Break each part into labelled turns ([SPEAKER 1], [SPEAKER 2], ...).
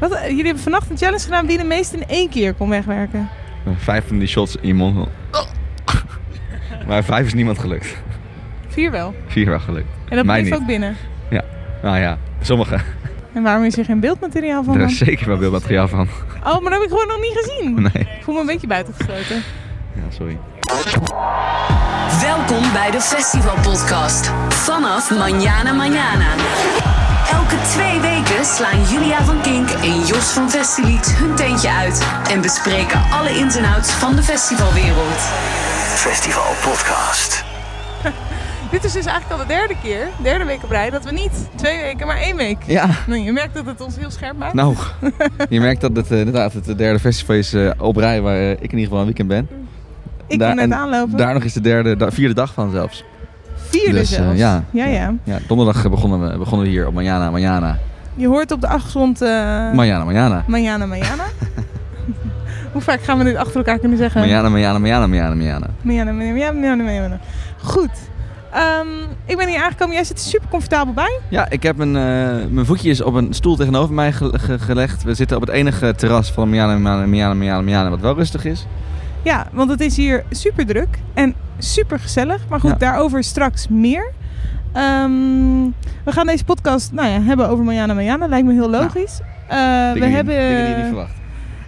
[SPEAKER 1] Wat, eh, jullie hebben vannacht een challenge gedaan wie de meeste in één keer kon wegwerken.
[SPEAKER 2] Vijf van die shots in je
[SPEAKER 1] Oh.
[SPEAKER 2] mond. Maar vijf is niemand gelukt.
[SPEAKER 1] Vier wel.
[SPEAKER 2] Vier wel gelukt.
[SPEAKER 1] En dat
[SPEAKER 2] Mij
[SPEAKER 1] bleef
[SPEAKER 2] niet.
[SPEAKER 1] ook Oh, binnen.
[SPEAKER 2] Nou ja, sommige.
[SPEAKER 1] En waarom is er geen beeldmateriaal van
[SPEAKER 2] Er
[SPEAKER 1] dan?
[SPEAKER 2] is zeker wel beeldmateriaal van.
[SPEAKER 1] Oh, maar dat heb ik gewoon nog niet gezien.
[SPEAKER 2] Nee.
[SPEAKER 1] Ik voel me een beetje buitengesloten.
[SPEAKER 2] Ja, sorry.
[SPEAKER 3] Welkom bij de Festival Podcast. Vanaf Manjana Manjana. Elke twee weken slaan Julia van Kink en Jos van Festilied hun tentje uit en bespreken alle ins en outs van de festivalwereld.
[SPEAKER 4] Festival Podcast.
[SPEAKER 1] Dit is dus eigenlijk al de derde keer, derde week op rij, dat we niet twee weken, maar één week.
[SPEAKER 2] Ja,
[SPEAKER 1] Nou, je merkt dat het ons heel scherp maakt.
[SPEAKER 2] nou. Je merkt dat het eh, inderdaad het derde festival is eh, op rij waar eh, ik in ieder geval een weekend ben.
[SPEAKER 1] ik
[SPEAKER 2] Daar-
[SPEAKER 1] kon net
[SPEAKER 2] en
[SPEAKER 1] aanlopen.
[SPEAKER 2] Daar nog is de derde, da- vierde dag van zelfs.
[SPEAKER 1] Vierde
[SPEAKER 2] dus, eh,
[SPEAKER 1] zelfs.
[SPEAKER 2] ja.
[SPEAKER 1] ja, ja.
[SPEAKER 2] Ja, donderdag eh, begonnen we, begonnen we hier op Manjana, Manjana.
[SPEAKER 1] Je hoort op de achtergrond eh
[SPEAKER 2] Manjana, Manjana.
[SPEAKER 1] Manjana Manjana. Hoe vaak gaan we dit achter elkaar kunnen zeggen?
[SPEAKER 2] Manjana, Manjana, Manjana, Manjana, Manjana.
[SPEAKER 1] Manjana, Manjana, Manjana, Manjana. Goed. Ehm, ik ben hier aangekomen. Jij zit er super comfortabel bij.
[SPEAKER 2] Ja, ik heb mijn, eh, mijn voetjes op een stoel tegenover mij ge- ge- gelegd. We zitten op het enige terras van Miana, Miana, Miana, Miana, Miana, wat wel rustig is.
[SPEAKER 1] Ja, want het is hier super druk en super gezellig. Maar goed,
[SPEAKER 2] Ja.
[SPEAKER 1] daarover straks meer. Ehm, we gaan deze podcast nou ja, hebben over Manjana Manjana. Lijkt me heel logisch. Eh, we
[SPEAKER 2] Dingen die-
[SPEAKER 1] hebben eh,
[SPEAKER 2] Dingen die je niet verwacht.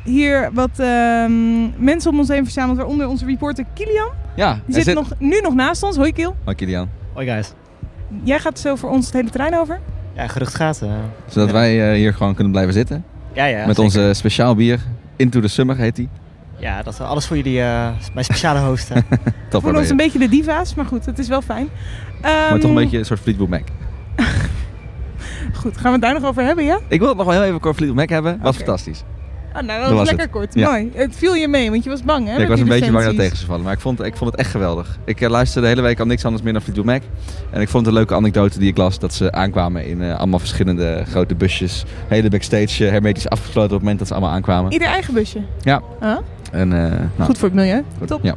[SPEAKER 1] hier wat ehm, mensen om ons heen verzameld, waaronder onze reporter Kilian.
[SPEAKER 2] Ja,
[SPEAKER 1] Die
[SPEAKER 2] er
[SPEAKER 1] zit, Nog, nu nog naast ons. Hoi Kiel.
[SPEAKER 2] Hoi Kilian.
[SPEAKER 5] Hoi guys.
[SPEAKER 1] Jij gaat zo voor ons het hele terrein over.
[SPEAKER 5] Ja, gerucht gaat. eh.
[SPEAKER 2] Zodat
[SPEAKER 5] Ja.
[SPEAKER 2] wij eh, hier gewoon kunnen blijven zitten.
[SPEAKER 5] ja, ja,
[SPEAKER 2] met
[SPEAKER 5] zeker.
[SPEAKER 2] onze speciaal bier. Into the Summer heet die.
[SPEAKER 5] Ja, dat is alles voor jullie, eh, mijn speciale host. hè.
[SPEAKER 2] Top
[SPEAKER 1] voelen ons
[SPEAKER 2] maar
[SPEAKER 1] een beetje de diva's, maar goed, het is wel fijn.
[SPEAKER 2] Maar
[SPEAKER 1] Ehm,
[SPEAKER 2] toch een beetje een soort Fleetwood Mac.
[SPEAKER 1] Goed, gaan we het daar nog over hebben, ja?
[SPEAKER 2] Ik wil het nog wel heel even kort Fleetwood Mac hebben. Was
[SPEAKER 1] Oké.
[SPEAKER 2] fantastisch.
[SPEAKER 1] Oh, nou, dat
[SPEAKER 2] Dat
[SPEAKER 1] was,
[SPEAKER 2] was
[SPEAKER 1] lekker
[SPEAKER 2] het.
[SPEAKER 1] kort.
[SPEAKER 2] Ja.
[SPEAKER 1] Mooi. Het viel je mee, want je was bang, hè?
[SPEAKER 2] Ja, ik
[SPEAKER 1] met
[SPEAKER 2] was
[SPEAKER 1] die
[SPEAKER 2] een beetje bang dat
[SPEAKER 1] recensies.
[SPEAKER 2] tegen ze vallen. Maar ik vond, ik vond het echt geweldig. Ik eh, luisterde de hele week al niks anders meer dan Fleetwood Mac. En ik vond het een leuke anekdote die ik las. Dat ze aankwamen in eh, allemaal verschillende grote busjes. Hele backstage eh, hermetisch afgesloten op het moment dat ze allemaal aankwamen.
[SPEAKER 1] Ieder eigen busje.
[SPEAKER 2] Ja.
[SPEAKER 1] Huh?
[SPEAKER 2] En, eh, nou,
[SPEAKER 1] Goed voor het milieu.
[SPEAKER 2] goed.
[SPEAKER 1] Top.
[SPEAKER 2] Ja.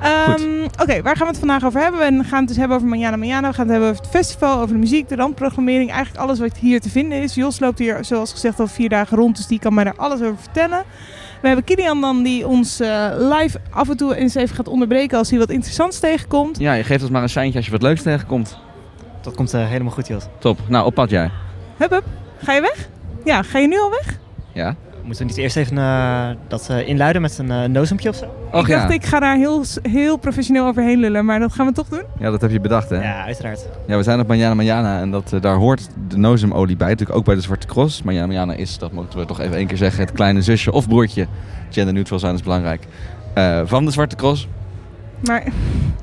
[SPEAKER 1] Ehm, Oké, waar gaan we het vandaag over hebben? We gaan het dus hebben over Manjana Manjana. We gaan het hebben over het festival, over de muziek, de randprogrammering. Eigenlijk alles wat hier te vinden is. Jos loopt hier, zoals gezegd, al vier dagen rond. Dus die kan mij daar alles over vertellen. We hebben Kilian dan, die ons eh, live af en toe eens even gaat onderbreken als hij wat interessants tegenkomt.
[SPEAKER 2] ja, je geeft ons maar een seintje als je wat leuks tegenkomt.
[SPEAKER 5] Dat komt eh, helemaal goed, Jos.
[SPEAKER 2] Top. Nou, op pad jij.
[SPEAKER 1] Hup, hup. Ga je weg? Ja, ga je nu al weg?
[SPEAKER 2] Ja.
[SPEAKER 5] Moeten we niet eerst even eh, dat eh, inluiden met een eh nozeempje of zo?
[SPEAKER 2] Och
[SPEAKER 1] ik
[SPEAKER 2] Oh, ja.
[SPEAKER 1] dacht, ik ga daar heel, s- heel professioneel overheen lullen, maar dat gaan we toch doen?
[SPEAKER 2] Ja, dat heb je bedacht hè?
[SPEAKER 5] Ja, uiteraard.
[SPEAKER 2] Ja, we zijn op Manjana Manjana en dat, eh, daar hoort de nozemolie bij. Natuurlijk ook bij de Zwarte Cross. Manjana Manjana is, dat moeten we toch even één keer zeggen, het kleine zusje of broertje. Gender neutral zijn is belangrijk. eh, van de Zwarte Cross.
[SPEAKER 1] Maar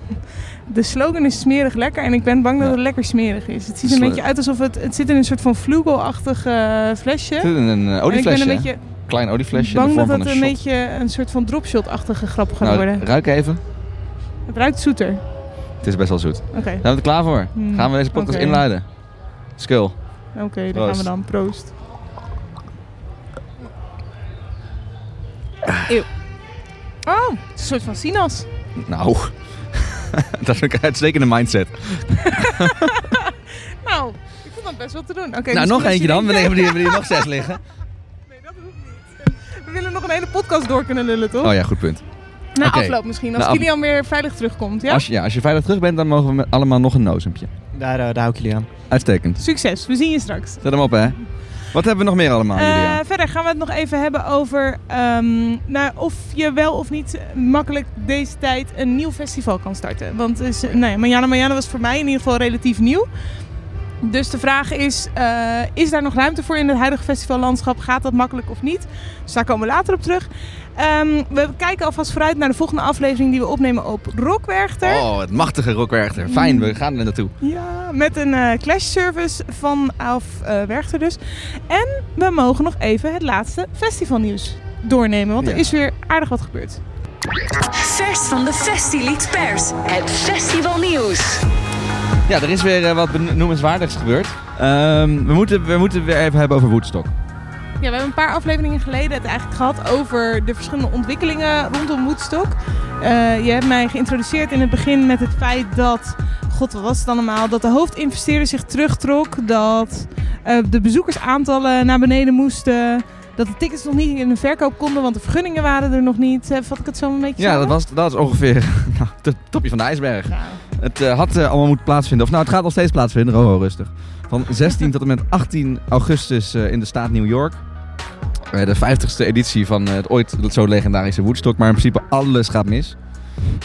[SPEAKER 1] de slogan is smerig lekker en ik ben bang dat
[SPEAKER 2] Ja.
[SPEAKER 1] het lekker smerig is. Het ziet er
[SPEAKER 2] Slo-
[SPEAKER 1] een beetje uit alsof het, het zit in een soort van vleugelachtig eh, flesje.
[SPEAKER 2] Het is Een, een eh,
[SPEAKER 1] En ik ben
[SPEAKER 2] olieflesje.
[SPEAKER 1] een
[SPEAKER 2] hè?
[SPEAKER 1] beetje
[SPEAKER 2] Klein olieflesje in de
[SPEAKER 1] bang dat
[SPEAKER 2] vorm van
[SPEAKER 1] het
[SPEAKER 2] een
[SPEAKER 1] een,
[SPEAKER 2] shot.
[SPEAKER 1] beetje een soort van dropshot-achtige grap gaat
[SPEAKER 2] Nou,
[SPEAKER 1] worden.
[SPEAKER 2] ruik even.
[SPEAKER 1] Het ruikt zoeter. Oké,
[SPEAKER 2] Het is best wel zoet. Zijn we er klaar voor?
[SPEAKER 1] Hmm,
[SPEAKER 2] Gaan we deze podcast
[SPEAKER 1] oké.
[SPEAKER 2] inluiden? Skull.
[SPEAKER 1] oké, daar gaan we
[SPEAKER 2] Proost.
[SPEAKER 1] dan. Proost. Eeuw. Oh, het is een soort van sinaas.
[SPEAKER 2] Nou, dat is een uitstekende mindset.
[SPEAKER 1] Nou, ik vond dat best wel te doen. Oké,
[SPEAKER 2] nou,
[SPEAKER 1] misschien
[SPEAKER 2] nog
[SPEAKER 1] als je
[SPEAKER 2] eentje dan.
[SPEAKER 1] denkt-
[SPEAKER 2] We hebben hier- we hebben hier nog zes liggen.
[SPEAKER 1] Nee, dat hoeft niet. We willen nog een hele podcast door kunnen lullen, toch?
[SPEAKER 2] Oh ja, goed punt.
[SPEAKER 1] Na
[SPEAKER 2] oké.
[SPEAKER 1] afloop misschien, als
[SPEAKER 2] Na af-
[SPEAKER 1] Kilian weer veilig terugkomt, ja?
[SPEAKER 2] Als, je, ja, als je veilig terug bent, dan mogen we met allemaal nog een nozempje.
[SPEAKER 5] Daar, eh, daar hou ik jullie aan.
[SPEAKER 2] Uitstekend.
[SPEAKER 1] Succes, we zien je straks.
[SPEAKER 2] Zet hem op, hè. Wat hebben we nog meer allemaal, Julia?
[SPEAKER 1] Eh, verder gaan we het nog even hebben over ehm, nou, of je wel of niet makkelijk deze tijd een nieuw festival kan starten. Want dus, nou ja, Manjana Manjana was voor mij in ieder geval relatief nieuw. Dus de vraag is, eh, is daar nog ruimte voor in het huidige festivallandschap? Gaat dat makkelijk of niet? Dus daar komen we later op terug. Ehm, we kijken alvast vooruit naar de volgende aflevering die we opnemen op Rockwerchter.
[SPEAKER 2] Oh, het machtige rockwerchter. Fijn, we gaan er naartoe.
[SPEAKER 1] Ja, met een eh, clash service vanaf eh Werchter dus. En we mogen nog even het laatste festivalnieuws doornemen, want er
[SPEAKER 2] Ja.
[SPEAKER 1] is weer aardig wat gebeurd.
[SPEAKER 3] Vers van de Festilied Pers, het festivalnieuws.
[SPEAKER 2] Ja, er is weer eh, wat benoemenswaardigs gebeurd. Ehm, we, moeten, we moeten weer even hebben over Woodstock.
[SPEAKER 1] Ja, we hebben een paar afleveringen geleden het eigenlijk gehad over de verschillende ontwikkelingen rondom Woodstock. Eh, je hebt mij geïntroduceerd in het begin met het feit dat, god wat was het dan allemaal, dat de hoofdinvesteerder zich terugtrok, dat eh, de bezoekersaantallen naar beneden moesten. dat de tickets nog niet in de verkoop konden, want de vergunningen waren er nog niet. Eh, Vat ik het zo een beetje
[SPEAKER 2] Ja, dat
[SPEAKER 1] samen?
[SPEAKER 2] was, dat is ongeveer nou, het topje van de ijsberg.
[SPEAKER 1] Nou,
[SPEAKER 2] Het eh, had eh, allemaal moeten plaatsvinden. Of nou, het gaat nog steeds plaatsvinden. Roho, rustig. Van 16 tot en met 18 augustus eh, in de staat New York. Eh, de 50ste editie van eh, het ooit zo legendarische Woodstock. Maar in principe alles gaat mis.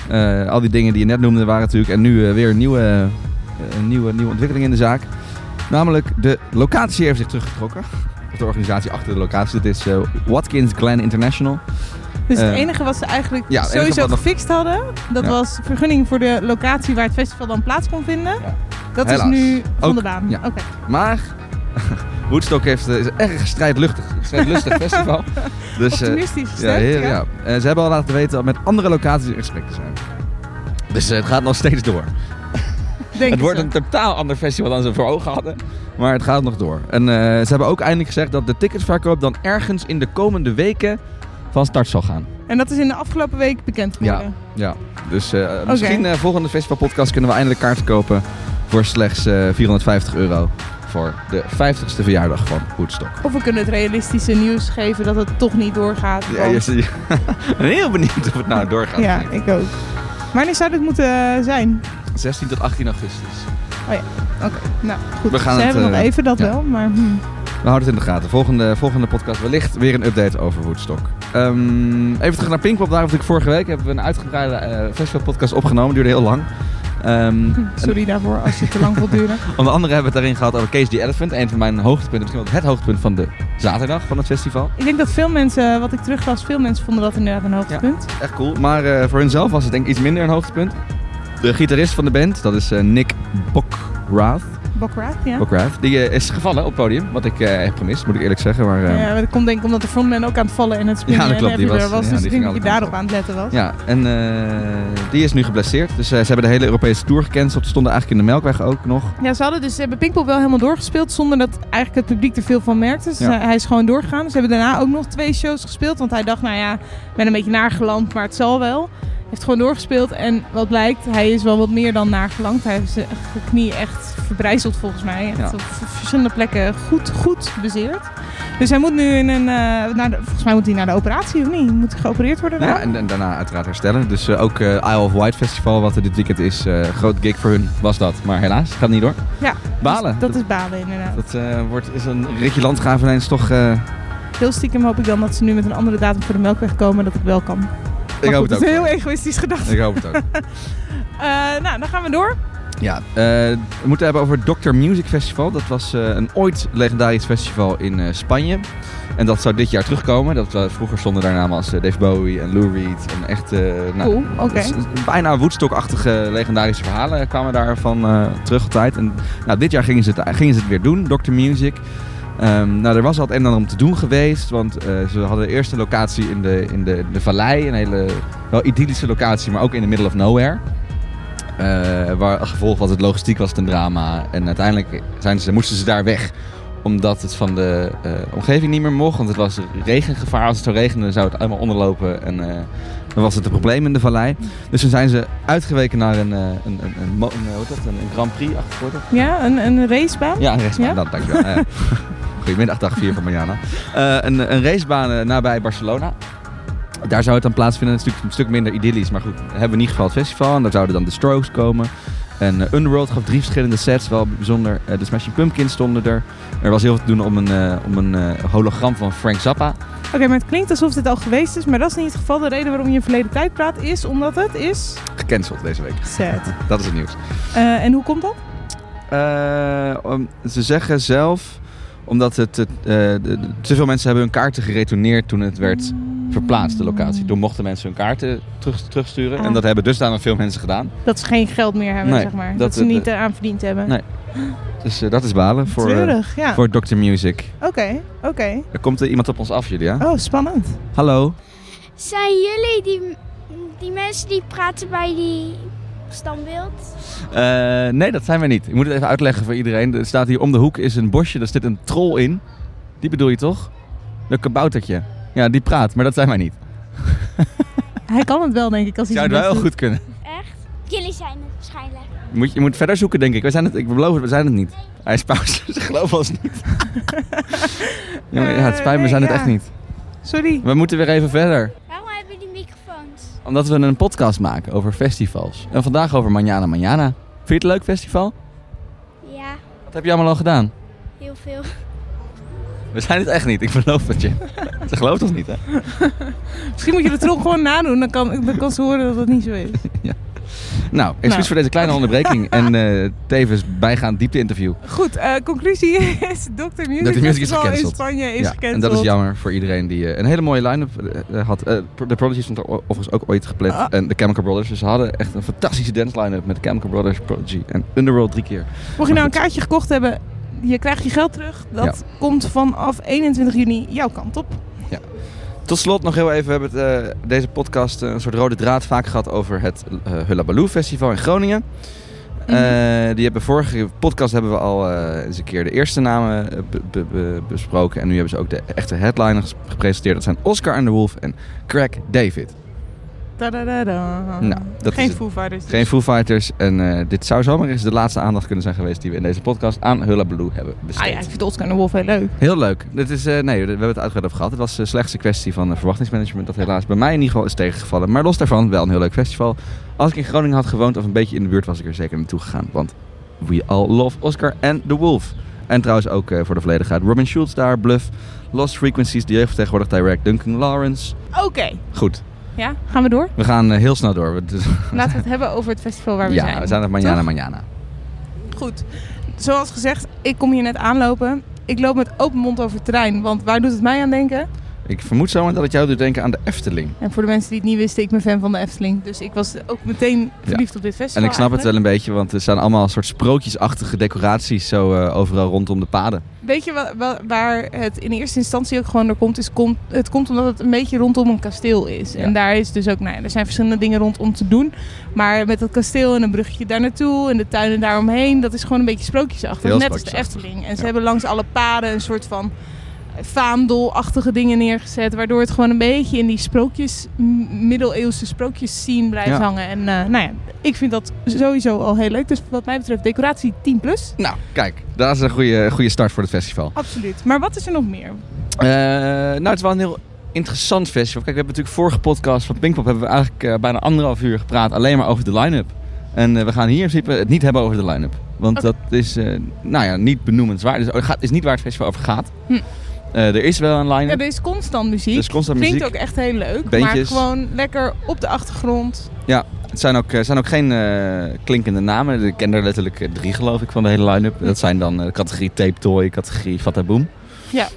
[SPEAKER 2] Eh, al die dingen die je net noemde waren natuurlijk. En nu eh, weer een nieuwe, eh, een nieuwe, nieuwe ontwikkeling in de zaak. Namelijk, de locatie heeft zich teruggetrokken. Of de organisatie achter de locatie. Dit is eh, Watkins Glen International.
[SPEAKER 1] Dus het
[SPEAKER 2] Eh,
[SPEAKER 1] enige wat ze eigenlijk
[SPEAKER 2] ja, het enige
[SPEAKER 1] sowieso
[SPEAKER 2] wat nog-
[SPEAKER 1] gefixt hadden, dat
[SPEAKER 2] Ja.
[SPEAKER 1] was vergunning voor de locatie waar het festival dan plaats kon vinden.
[SPEAKER 2] Ja.
[SPEAKER 1] Dat
[SPEAKER 2] Helaas.
[SPEAKER 1] is nu van
[SPEAKER 2] Ook-
[SPEAKER 1] de baan.
[SPEAKER 2] ja.
[SPEAKER 1] Oké.
[SPEAKER 2] Maar Woodstock heeft, eh, is een erg strijdluchtig, strijdlustig festival. Dus, eh,
[SPEAKER 1] Optimistisch
[SPEAKER 2] ja,
[SPEAKER 1] gestemd.
[SPEAKER 2] heel,
[SPEAKER 1] ja.
[SPEAKER 2] ja. Eh, ze hebben al laten weten dat met andere locaties in gesprek te zijn. Dus eh, het gaat nog steeds door.
[SPEAKER 1] Denk
[SPEAKER 2] het
[SPEAKER 1] ik
[SPEAKER 2] wordt
[SPEAKER 1] zo.
[SPEAKER 2] een totaal ander festival dan ze voor ogen hadden. Maar het gaat nog door. En eh, ze hebben ook eindelijk gezegd dat de ticketverkoop dan ergens in de komende weken van start zal gaan.
[SPEAKER 1] En dat is in de afgelopen week bekend geworden.
[SPEAKER 2] Ja, dus eh, misschien eh, volgende festivalpodcast kunnen we eindelijk kaarten kopen voor slechts eh, 450 euro. Voor de 50ste verjaardag van Woodstock.
[SPEAKER 1] Of we kunnen het realistische nieuws geven dat het toch niet doorgaat.
[SPEAKER 2] Ja,
[SPEAKER 1] want-
[SPEAKER 2] je zit- ik ben heel benieuwd of het nou doorgaat.
[SPEAKER 1] ja, ik ook. Wanneer zou dit moeten eh, zijn?
[SPEAKER 2] 16 tot 18 augustus.
[SPEAKER 1] Oké, nou goed.
[SPEAKER 2] We gaan
[SPEAKER 1] ze
[SPEAKER 2] het,
[SPEAKER 1] hebben nog
[SPEAKER 2] eh,
[SPEAKER 1] even dat
[SPEAKER 2] ja.
[SPEAKER 1] wel, maar hm.
[SPEAKER 2] We houden het in de gaten. Volgende, volgende podcast wellicht weer een update over Woodstock. Ehm, even terug naar Pinkpop. Daar had ik vorige week hebben we een uitgebreide eh festivalpodcast opgenomen. Duurde heel lang. Ehm,
[SPEAKER 1] sorry daarvoor als je te lang wilt duren.
[SPEAKER 2] Onder andere hebben we het daarin gehad over Case the Elephant. Een van mijn hoogtepunten, misschien wel het hoogtepunt van de zaterdag van het festival.
[SPEAKER 1] Ik denk dat veel mensen, wat ik teruglas, veel mensen vonden dat inderdaad een hoogtepunt.
[SPEAKER 2] Echt cool. Maar eh, voor hunzelf was het denk ik iets minder een hoogtepunt. De gitarist van de band, dat is eh, Nick Bokrath.
[SPEAKER 1] Bokraat, ja.
[SPEAKER 2] Bokrath. Die eh, is gevallen op het podium. Wat ik eh, heb gemist, moet ik eerlijk zeggen. Maar, eh,
[SPEAKER 1] Ja, maar dat komt denk ik omdat de frontman ook aan het vallen en het spinnen
[SPEAKER 2] Ja, dat klopt,
[SPEAKER 1] en
[SPEAKER 2] die
[SPEAKER 1] everywhere
[SPEAKER 2] was-
[SPEAKER 1] was.
[SPEAKER 2] ja,
[SPEAKER 1] Dus
[SPEAKER 2] die
[SPEAKER 1] ik denk
[SPEAKER 2] ging
[SPEAKER 1] dat je
[SPEAKER 2] alle kanten
[SPEAKER 1] daarop aan
[SPEAKER 2] op.
[SPEAKER 1] het letten was.
[SPEAKER 2] Ja, en eh, die is nu geblesseerd. Dus eh, ze hebben de hele Europese Tour gecanceld. Ze stonden eigenlijk in de Melkweg ook nog.
[SPEAKER 1] Ja, ze hadden dus ze hebben Pinkpop wel helemaal doorgespeeld zonder dat eigenlijk het publiek er veel van merkte. Dus
[SPEAKER 2] Ja.
[SPEAKER 1] eh, hij is gewoon doorgegaan. Ze hebben daarna ook nog twee shows gespeeld, want hij dacht, nou ja, ik ben een beetje naargeland, maar het zal wel. Hij heeft gewoon doorgespeeld en wat blijkt, hij is wel wat meer dan naargeland. Hij heeft zijn knie echt verbrijzeld volgens mij. Echt
[SPEAKER 2] Ja.
[SPEAKER 1] Op v- verschillende plekken goed, goed bezeerd. Dus hij moet nu in een, eh, naar de, volgens mij moet hij naar de operatie of niet? Moet hij geopereerd worden?
[SPEAKER 2] Nou ja,
[SPEAKER 1] daar?
[SPEAKER 2] en, en daarna uiteraard herstellen. Dus eh, ook eh Isle of Wight Festival, wat er dit weekend is. eh groot gig voor hun was dat. Maar helaas, gaat niet door.
[SPEAKER 1] Ja,
[SPEAKER 2] Balen.
[SPEAKER 1] Dus dat is balen inderdaad.
[SPEAKER 2] Dat eh, wordt, is een Ricky Landgraaf ineens toch... eh,
[SPEAKER 1] Heel stiekem hoop ik dan dat ze nu met een andere datum voor de melkweg komen, dat ik wel kan.
[SPEAKER 2] ik
[SPEAKER 1] Maar
[SPEAKER 2] hoop
[SPEAKER 1] goed,
[SPEAKER 2] het
[SPEAKER 1] Dat is
[SPEAKER 2] ook.
[SPEAKER 1] heel egoïstisch gedacht.
[SPEAKER 2] Ik hoop het ook.
[SPEAKER 1] Eh, nou, dan gaan we door.
[SPEAKER 2] Ja, eh, we moeten het hebben over het Dr. Music Festival. Dat was eh, een ooit legendarisch festival in eh, Spanje. En dat zou dit jaar terugkomen. Dat, eh, vroeger stonden daar namen als eh, Dave Bowie en Lou Reed. En echt eh, nou,
[SPEAKER 1] Cool, oké.
[SPEAKER 2] s- bijna Woodstock-achtige legendarische verhalen kwamen daarvan eh terug op tijd. En nou, dit jaar gingen ze, het, gingen ze het weer doen, Dr. Music. Ehm, nou, er was al het een en ander om te doen geweest. Want eh, ze hadden eerst een locatie in de, in de, de vallei. Een hele wel idyllische locatie, maar ook in the middle of nowhere. Eh, waar het gevolg was het logistiek was het een drama. En uiteindelijk zijn ze, moesten ze daar weg. Omdat het van de eh, omgeving niet meer mocht. Want het was regengevaar. Als het zou regenen zou het allemaal onderlopen. En eh, dan was het een probleem in de vallei. Dus toen zijn ze uitgeweken naar een, eh, een, een, een, mo- een, hoe heet dat? een, een Grand Prix achterwoord.
[SPEAKER 1] Ja, een, een racebaan.
[SPEAKER 2] Ja, een racebaan.
[SPEAKER 1] Ja?
[SPEAKER 2] Dat, dankjewel. Eh, Goedemiddag, dag 4 van Mariana. Eh, een, een racebaan eh, nabij Barcelona. Daar zou het dan plaatsvinden. Het is natuurlijk een stuk minder idyllisch. Maar goed, hebben we in ieder geval het festival. En daar zouden dan de Strokes komen. En eh, Underworld gaf drie verschillende sets. Wel bijzonder. Eh, de Smashing Pumpkins stonden er. Er was heel veel te doen om een, eh, om een eh, hologram van Frank Zappa.
[SPEAKER 1] Oké, maar het klinkt alsof dit al geweest is, maar dat is niet het geval. De reden waarom je in verleden tijd praat is omdat het is
[SPEAKER 2] Gecanceld deze week.
[SPEAKER 1] sad.
[SPEAKER 2] Dat is het nieuws.
[SPEAKER 1] Eh, en hoe komt dat?
[SPEAKER 2] Eh, om- ze zeggen zelf, omdat het, het, eh, de- de- te veel mensen hebben hun kaarten geretourneerd toen het werd verplaatst, de locatie. Toen mochten mensen hun kaarten terug, terugsturen.
[SPEAKER 1] Ah.
[SPEAKER 2] En dat hebben dusdanig veel mensen gedaan.
[SPEAKER 1] Dat ze geen geld meer hebben,
[SPEAKER 2] Nee,
[SPEAKER 1] zeg maar. Dat,
[SPEAKER 2] dat-
[SPEAKER 1] ze niet
[SPEAKER 2] dat-
[SPEAKER 1] eraan verdiend hebben.
[SPEAKER 2] Nee, Dus eh, dat is balen voor, eh,
[SPEAKER 1] Treurig, ja. Oké,
[SPEAKER 2] voor Dr. Music.
[SPEAKER 1] oké.
[SPEAKER 2] Er komt er iemand op ons af, Julia.
[SPEAKER 1] Oh, spannend.
[SPEAKER 2] Hallo.
[SPEAKER 6] Zijn jullie die, die mensen die praten bij die standbeeld?
[SPEAKER 2] Eh, nee, dat zijn wij niet. Ik moet het even uitleggen voor iedereen. Er staat hier om de hoek is een bosje, daar zit een troll in. Die bedoel je toch? Dat kaboutertje. Ja, die praat, maar dat zijn wij niet.
[SPEAKER 1] Hij kan het wel, denk ik, als hij
[SPEAKER 2] Zou
[SPEAKER 1] zijn
[SPEAKER 2] het wel heel
[SPEAKER 1] best
[SPEAKER 2] goed kunnen.
[SPEAKER 6] Echt? Jullie zijn het waarschijnlijk.
[SPEAKER 2] Moet, je moet verder zoeken, denk ik. We zijn het, ik beloof het, we zijn het niet. Hij is pauze, ze geloven ons niet. ja, maar ja, het spijt me, we zijn het
[SPEAKER 1] Eh,
[SPEAKER 2] echt
[SPEAKER 1] ja.
[SPEAKER 2] niet.
[SPEAKER 1] Sorry.
[SPEAKER 2] We moeten weer even verder.
[SPEAKER 6] Waarom hebben jullie microfoons?
[SPEAKER 2] Omdat we een podcast maken over festivals. En vandaag over Manjana Manjana. Vind je het een leuk festival?
[SPEAKER 6] Ja,
[SPEAKER 2] Wat heb je allemaal al gedaan?
[SPEAKER 6] heel veel.
[SPEAKER 2] We zijn het echt niet, ik beloof het je. Ze gelooft ons niet, hè?
[SPEAKER 1] Misschien moet je de trom gewoon nadoen. Dan kan, dan kan ze horen dat dat niet zo is.
[SPEAKER 2] Nou, excuus
[SPEAKER 1] Nou.
[SPEAKER 2] voor deze kleine onderbreking. en eh, tevens bijgaand diepte-interview.
[SPEAKER 1] Goed, eh, conclusie is Dr. Music,
[SPEAKER 2] Dr. Music is
[SPEAKER 1] Festival in
[SPEAKER 2] gecanceld.
[SPEAKER 1] Spanje is gecanceld.
[SPEAKER 2] en dat is jammer voor iedereen die eh, een hele mooie line-up eh, had. Eh, de Prodigy stond er o- overigens ook ooit gepland.
[SPEAKER 1] Ah.
[SPEAKER 2] En de Chemical Brothers. Dus ze hadden echt een fantastische dance line-up met Chemical Brothers, Prodigy en Underworld drie keer.
[SPEAKER 1] Mocht je nou een kaartje gekocht hebben, je krijgt je geld terug. Dat komt vanaf 21 juni jouw kant op.
[SPEAKER 2] Tot slot nog heel even. We hebben het, eh, deze podcast eh, een soort rode draad vaak gehad over het eh Hullabaloo Festival in Groningen.
[SPEAKER 1] Mhm.
[SPEAKER 2] Eh, die hebben vorige podcast hebben we al eh, eens een keer de eerste namen eh, be- be- be- besproken. En nu hebben ze ook de echte headliner ges- gepresenteerd. Dat zijn Oscar and the Wolf en Craig David.
[SPEAKER 1] Tadadada.
[SPEAKER 2] Nou, dat
[SPEAKER 1] Geen
[SPEAKER 2] is het.
[SPEAKER 1] Foo Fighters. dus.
[SPEAKER 2] Geen Foo Fighters. En eh, dit zou zomaar eens de laatste aandacht kunnen zijn geweest die we in deze podcast aan Hullabaloo hebben besteed.
[SPEAKER 1] Ah ja, ik vind Oscar en de Wolf heel leuk.
[SPEAKER 2] Heel leuk. Dit is, eh, nee, we hebben het uitgebreid over gehad. Het was eh, slechts een kwestie van eh, verwachtingsmanagement. Dat helaas bij mij in ieder geval is tegengevallen. Maar los daarvan, wel een heel leuk festival. Als ik in Groningen had gewoond of een beetje in de buurt, was ik er zeker naartoe gegaan. Want we all love Oscar en The Wolf. En trouwens ook eh, voor de volledigheid. Robin Schulz daar, Bluff, Lost Frequencies, de jeugdvertegenwoordig direct, Duncan Lawrence.
[SPEAKER 1] Oké,
[SPEAKER 2] Goed,
[SPEAKER 1] ja, gaan we door.
[SPEAKER 2] we gaan eh, heel snel door. We-
[SPEAKER 1] Laten we het hebben over het festival waar we
[SPEAKER 2] ja,
[SPEAKER 1] zijn.
[SPEAKER 2] we zijn op Manjana Manjana.
[SPEAKER 1] Goed. Zoals gezegd, ik kom hier net aanlopen. Ik loop met open mond over het terrein, want waar doet het mij aan denken?
[SPEAKER 2] Ik vermoed zomaar dat het jou doet denken aan de Efteling.
[SPEAKER 1] En voor de mensen die het niet wisten, ik ben fan van de Efteling. Dus ik was ook meteen verliefd op dit
[SPEAKER 2] En
[SPEAKER 1] festival.
[SPEAKER 2] ik snap het wel
[SPEAKER 1] eigenlijk.
[SPEAKER 2] een beetje, want er staan allemaal soort sprookjesachtige decoraties zo eh, overal rondom de paden.
[SPEAKER 1] Weet je wa- wa- waar het in eerste instantie ook gewoon door komt? Is komt het komt omdat het een beetje rondom een kasteel is.
[SPEAKER 2] Ja.
[SPEAKER 1] En daar is dus ook, nou ja, er zijn verschillende dingen rondom te doen. Maar met dat kasteel en een bruggetje daar naartoe en de tuinen daaromheen, dat is gewoon een beetje sprookjesachtig.
[SPEAKER 2] Heel
[SPEAKER 1] Net als de
[SPEAKER 2] sprookjesachtig.
[SPEAKER 1] Efteling. En ze
[SPEAKER 2] Ja.
[SPEAKER 1] hebben langs alle paden een soort van vaandelachtige dingen neergezet. Waardoor het gewoon een beetje in die sprookjes, m- middeleeuwse sprookjes zien blijft
[SPEAKER 2] Ja.
[SPEAKER 1] hangen. En eh, nou ja, ik vind dat sowieso al heel leuk. Dus wat mij betreft decoratie 10 plus.
[SPEAKER 2] Nou, kijk, dat is een goede, goede start voor het festival.
[SPEAKER 1] Absoluut. Maar wat is er nog meer?
[SPEAKER 2] Eh, nou, het is wel een heel interessant festival. Kijk, we hebben natuurlijk vorige podcast van Pinkpop hebben we eigenlijk eh, bijna anderhalf uur gepraat alleen maar over de line-up. En eh, we gaan hier in principe het niet hebben over de line-up. Want
[SPEAKER 1] Oké.
[SPEAKER 2] dat is, eh, nou ja, niet benoemenswaar. Dus het gaat- is niet waar het festival over gaat.
[SPEAKER 1] Hm.
[SPEAKER 2] Eh, er is wel een
[SPEAKER 1] Ja,
[SPEAKER 2] line-up.
[SPEAKER 1] er is constant muziek.
[SPEAKER 2] Er is constant
[SPEAKER 1] Klinkt
[SPEAKER 2] muziek.
[SPEAKER 1] ook echt heel leuk. Maar
[SPEAKER 2] Beentjes.
[SPEAKER 1] gewoon lekker op de achtergrond.
[SPEAKER 2] Het zijn ook, eh, zijn ook geen eh, klinkende namen. Ik ken er letterlijk eh, drie, geloof ik, van de hele line-up.
[SPEAKER 1] Hm.
[SPEAKER 2] Dat zijn dan eh, de categorie Tape Toy, categorie Fataboom.
[SPEAKER 1] Ja.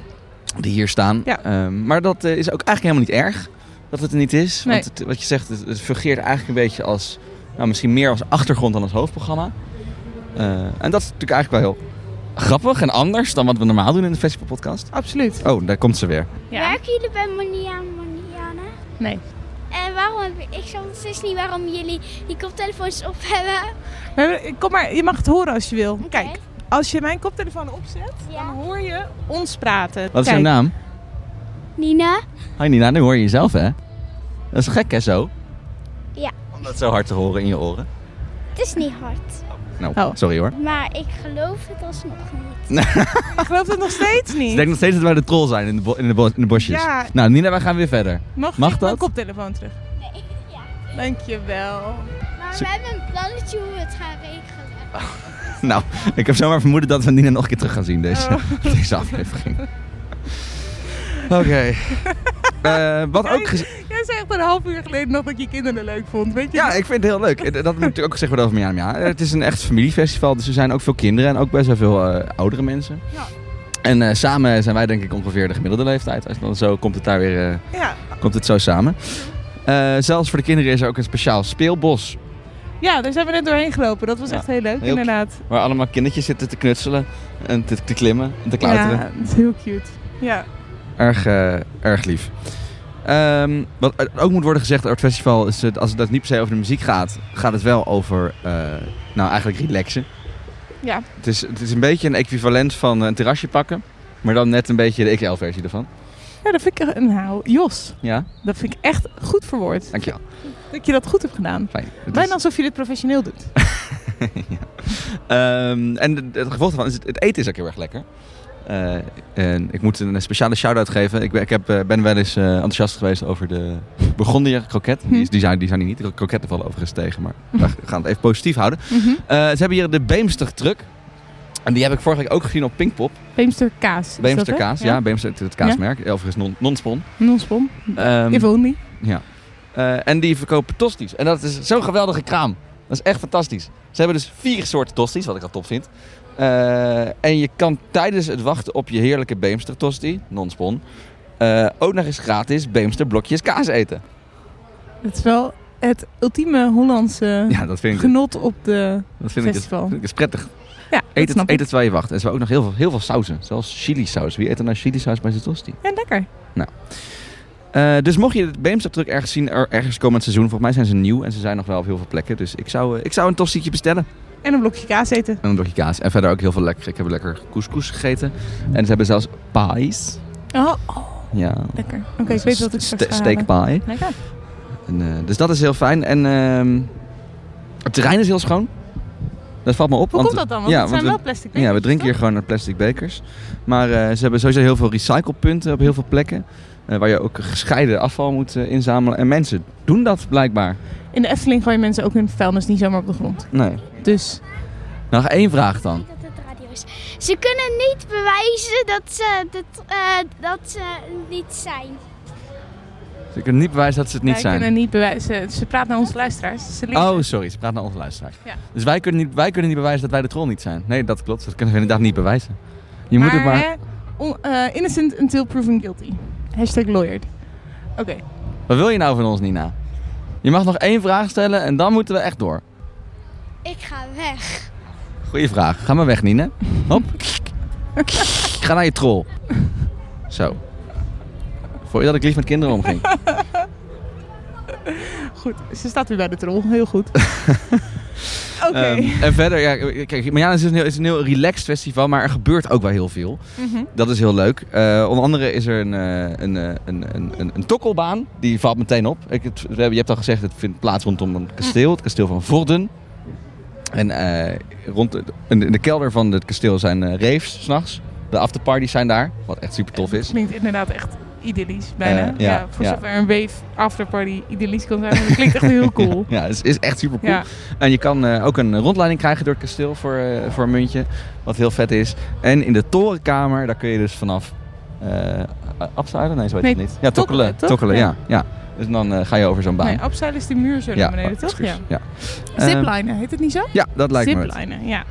[SPEAKER 2] Die hier staan.
[SPEAKER 1] Ja.
[SPEAKER 2] Ehm, maar dat eh, is ook eigenlijk helemaal niet erg dat het er niet is.
[SPEAKER 1] Nee.
[SPEAKER 2] Want het- wat je zegt, het, het fungeert eigenlijk een beetje als... Nou, misschien meer als achtergrond dan als hoofdprogramma. Eh, en dat is natuurlijk eigenlijk wel heel grappig en anders dan wat we normaal doen in de festivalpodcast.
[SPEAKER 1] Absoluut.
[SPEAKER 2] Oh, daar komt ze weer.
[SPEAKER 6] Werken jullie bij Monia Moniana?
[SPEAKER 1] Nee.
[SPEAKER 6] En waarom heb ik snap nog steeds niet waarom jullie die koptelefoons op hebben?
[SPEAKER 1] We hebben- Kom maar, je mag het horen als je wil. Kijk,
[SPEAKER 6] Oké.
[SPEAKER 1] als je mijn koptelefoon opzet, dan
[SPEAKER 6] Ja.
[SPEAKER 1] hoor je ons praten.
[SPEAKER 2] Wat is
[SPEAKER 1] Kijk,
[SPEAKER 2] jouw naam?
[SPEAKER 6] Nina?
[SPEAKER 2] Hi Nina, nou, nu hoor je jezelf hè? Dat is gek hè zo?
[SPEAKER 6] Ja.
[SPEAKER 2] Om dat zo hard te horen in je oren.
[SPEAKER 6] Het is niet hard.
[SPEAKER 2] Nou,
[SPEAKER 1] Oh.
[SPEAKER 2] sorry hoor.
[SPEAKER 6] Maar ik geloof het alsnog niet.
[SPEAKER 1] Ik geloof het nog steeds
[SPEAKER 2] Ik
[SPEAKER 1] niet.
[SPEAKER 2] denk nog steeds dat wij de troll zijn in de, bo- in de, bo- in de bosjes.
[SPEAKER 1] Ja.
[SPEAKER 2] Nou Nina, wij gaan weer verder.
[SPEAKER 1] Mag,
[SPEAKER 2] mag
[SPEAKER 1] ik mijn
[SPEAKER 2] dat?
[SPEAKER 1] koptelefoon terug?
[SPEAKER 6] Nee, ja.
[SPEAKER 1] Dankjewel.
[SPEAKER 6] Maar
[SPEAKER 2] Zo-
[SPEAKER 6] we hebben een plannetje hoe we het gaan regelen.
[SPEAKER 2] Nou, ik heb zomaar vermoeden dat we Nina nog een keer terug gaan zien deze,
[SPEAKER 1] Oh.
[SPEAKER 2] deze aflevering. Oké. Eh, wat ook gez-
[SPEAKER 1] Jij zei echt een half uur geleden nog dat je kinderen leuk vond, weet je?
[SPEAKER 2] Ja, ik vind het heel leuk. Eh, Dat moet natuurlijk ook gezegd worden over Miami. Ja, Eh, het is een echt familiefestival, dus er zijn ook veel kinderen en ook best wel veel eh, oudere mensen.
[SPEAKER 1] Ja.
[SPEAKER 2] En eh, samen zijn wij denk ik ongeveer de gemiddelde leeftijd. Als dan zo komt het daar weer eh,
[SPEAKER 1] Ja.
[SPEAKER 2] komt het zo samen. Eh, zelfs voor de kinderen is er ook een speciaal speelbos.
[SPEAKER 1] Ja, daar zijn we net doorheen gelopen. Dat was
[SPEAKER 2] Ja,
[SPEAKER 1] echt heel leuk,
[SPEAKER 2] heel-
[SPEAKER 1] inderdaad.
[SPEAKER 2] Waar allemaal kindertjes zitten te knutselen en te, te klimmen en te klauteren.
[SPEAKER 1] Ja, dat is heel cute. Ja.
[SPEAKER 2] Erg, eh, erg lief. Ehm, wat er ook moet worden gezegd over het festival is, het, als het dat niet per se over de muziek gaat, gaat het wel over, eh, nou eigenlijk relaxen.
[SPEAKER 1] Ja.
[SPEAKER 2] Het is, het is een beetje een equivalent van een terrasje pakken, maar dan net een beetje de XL-versie ervan.
[SPEAKER 1] ja, dat vind ik... Nou, Jos,
[SPEAKER 2] Ja,
[SPEAKER 1] dat vind ik echt goed verwoord.
[SPEAKER 2] dankjewel.
[SPEAKER 1] Dat je dat goed hebt gedaan.
[SPEAKER 2] Fijn. Het is-
[SPEAKER 1] Bijna alsof je dit professioneel doet.
[SPEAKER 2] Ehm, en het- het gevolg daarvan is, het, het eten is ook heel erg lekker. Eh, en ik moet een speciale shout-out geven. Ik ben, ik heb, eh, ben wel eens eh, enthousiast geweest over de Burgondier kroket. Die, is- die, zijn, die zijn hier niet. De kroketten vallen overigens tegen, maar we gaan het even positief houden.
[SPEAKER 1] Mhm.
[SPEAKER 2] Eh, ze hebben hier de Beemster truck. En die heb ik vorige week ook gezien op Pinkpop.
[SPEAKER 1] Beemster kaas. is dat,
[SPEAKER 2] Beemster
[SPEAKER 1] hè?
[SPEAKER 2] kaas, ja. Beemster, het, het kaasmerk. Overigens non- non-spon.
[SPEAKER 1] Non-spon.
[SPEAKER 2] Ehm,
[SPEAKER 1] If only.
[SPEAKER 2] ja. Eh, en die verkopen tosties. En dat is zo'n geweldige kraam. Dat is echt fantastisch. Ze hebben dus vier soorten tosties, wat ik al top vind. Eh, en je kan tijdens het wachten op je heerlijke Beemster tosti, non-spon, eh, ook nog eens gratis Beemster blokjes kaas eten.
[SPEAKER 1] Het is wel het ultieme Hollandse
[SPEAKER 2] Ja, dat vind ik,
[SPEAKER 1] genot op de...
[SPEAKER 2] dat vind ik, dus-
[SPEAKER 1] festival.
[SPEAKER 2] vind ik dus prettig.
[SPEAKER 1] Ja, dat
[SPEAKER 2] Eet het,
[SPEAKER 1] snap
[SPEAKER 2] eet
[SPEAKER 1] ik.
[SPEAKER 2] het terwijl je wacht. En ze hebben ook nog heel veel, heel veel sauzen. Zelfs chili saus. Wie eet er nou chili saus bij zijn tosti?
[SPEAKER 1] Ja, lekker.
[SPEAKER 2] Eh, dus mocht je de Beemsterdruk ergens zien, er, ergens komend seizoen. Volgens mij zijn ze nieuw en ze zijn nog wel op heel veel plekken. Dus ik zou, eh, ik zou een tostietje bestellen.
[SPEAKER 1] En een blokje kaas eten.
[SPEAKER 2] En een blokje kaas. En verder ook heel veel lekker. Ik heb lekker couscous gegeten. En ze hebben zelfs pies.
[SPEAKER 1] Oh, oh,
[SPEAKER 2] Ja.
[SPEAKER 1] lekker. Oké, ik weet wat ik straks ga
[SPEAKER 2] Steak
[SPEAKER 1] halen.
[SPEAKER 2] pie.
[SPEAKER 1] Lekker.
[SPEAKER 2] En, eh, dus dat is heel fijn. En ehm, het terrein is heel schoon. Dat valt me op.
[SPEAKER 1] Hoe
[SPEAKER 2] want-
[SPEAKER 1] komt dat dan? Want
[SPEAKER 2] ja,
[SPEAKER 1] het zijn
[SPEAKER 2] want we-
[SPEAKER 1] wel plastic
[SPEAKER 2] Ja, we drinken hier gewoon uit plastic bekers. Maar eh, ze hebben sowieso heel veel recyclepunten op heel veel plekken. eh, waar je ook gescheiden afval moet eh, inzamelen. En mensen doen dat blijkbaar.
[SPEAKER 1] In de Efteling gooien mensen ook hun vuilnis niet zomaar op de grond.
[SPEAKER 2] Nee.
[SPEAKER 1] Dus
[SPEAKER 2] Nog één vraag dan.
[SPEAKER 6] Ik denk dat het radio is. Ze kunnen niet bewijzen dat ze, dat, eh, dat ze niet zijn.
[SPEAKER 2] Ze kunnen niet bewijzen dat ze het niet
[SPEAKER 1] wij
[SPEAKER 2] zijn.
[SPEAKER 1] kunnen niet bewijzen. Ze praat naar onze luisteraars. Ze liegen.
[SPEAKER 2] Oh, sorry. Ze praat naar onze luisteraar.
[SPEAKER 1] Ja.
[SPEAKER 2] Dus wij kunnen, niet, wij kunnen niet bewijzen dat wij de troll niet zijn. Nee, dat klopt. Dat kunnen we inderdaad niet bewijzen. Je moet het maar...
[SPEAKER 1] hè, on- eh, innocent until proven guilty. Hashtag lawyered. Oké.
[SPEAKER 2] Wat wil je nou van ons, Nina? Je mag nog één vraag stellen en dan moeten we echt door.
[SPEAKER 6] Ik ga weg.
[SPEAKER 2] Goeie vraag. Ga maar weg, Nina. Hop. Ga naar je troll. Zo. Voor je dat ik lief met kinderen omging.
[SPEAKER 1] Goed. Ze staat weer bij de troll. Heel goed. Oké.
[SPEAKER 2] Ehm, en verder, ja, kijk, Mariana is dus een, heel, is een heel relaxed festival, maar er gebeurt ook wel heel veel.
[SPEAKER 1] Mhm.
[SPEAKER 2] Dat is heel leuk. Eh, onder andere is er een, eh, een, eh, een, een, een, een tokkelbaan, die valt meteen op. Ik, het, we hebben- je hebt al gezegd, het vindt plaats rondom een kasteel, het kasteel van Vorden. En eh, rond de, in de- in de kelder van het kasteel zijn eh, raves s'nachts. De afterparties zijn daar, wat echt super tof is.
[SPEAKER 1] Klinkt inderdaad echt idyllisch, bijna.
[SPEAKER 2] Eh, ja,
[SPEAKER 1] ja, voor
[SPEAKER 2] ja.
[SPEAKER 1] zover een wave afterparty idyllisch kan zijn. Dat klinkt echt heel cool.
[SPEAKER 2] Ja, het is, is echt super cool.
[SPEAKER 1] Ja.
[SPEAKER 2] En je kan eh, ook een rondleiding krijgen door het kasteel voor, eh, voor een muntje. Wat heel vet is. En in de torenkamer, daar kun je dus vanaf... eh Abzuilen? Nee, zo heet
[SPEAKER 1] Nee,
[SPEAKER 2] het niet. Ja,
[SPEAKER 1] tokkelen,
[SPEAKER 2] tokkelen.
[SPEAKER 1] toch?
[SPEAKER 2] Tokkelen, ja. ja. Dus dan eh, ga je over zo'n baan.
[SPEAKER 1] Nee, Abseil is de muur zo naar beneden, toch?
[SPEAKER 2] excuus.
[SPEAKER 1] Ja.
[SPEAKER 2] ja. Eh,
[SPEAKER 1] Ziplinen, heet het niet zo?
[SPEAKER 2] ja, dat lijkt me het.
[SPEAKER 1] Ziplinen, ja.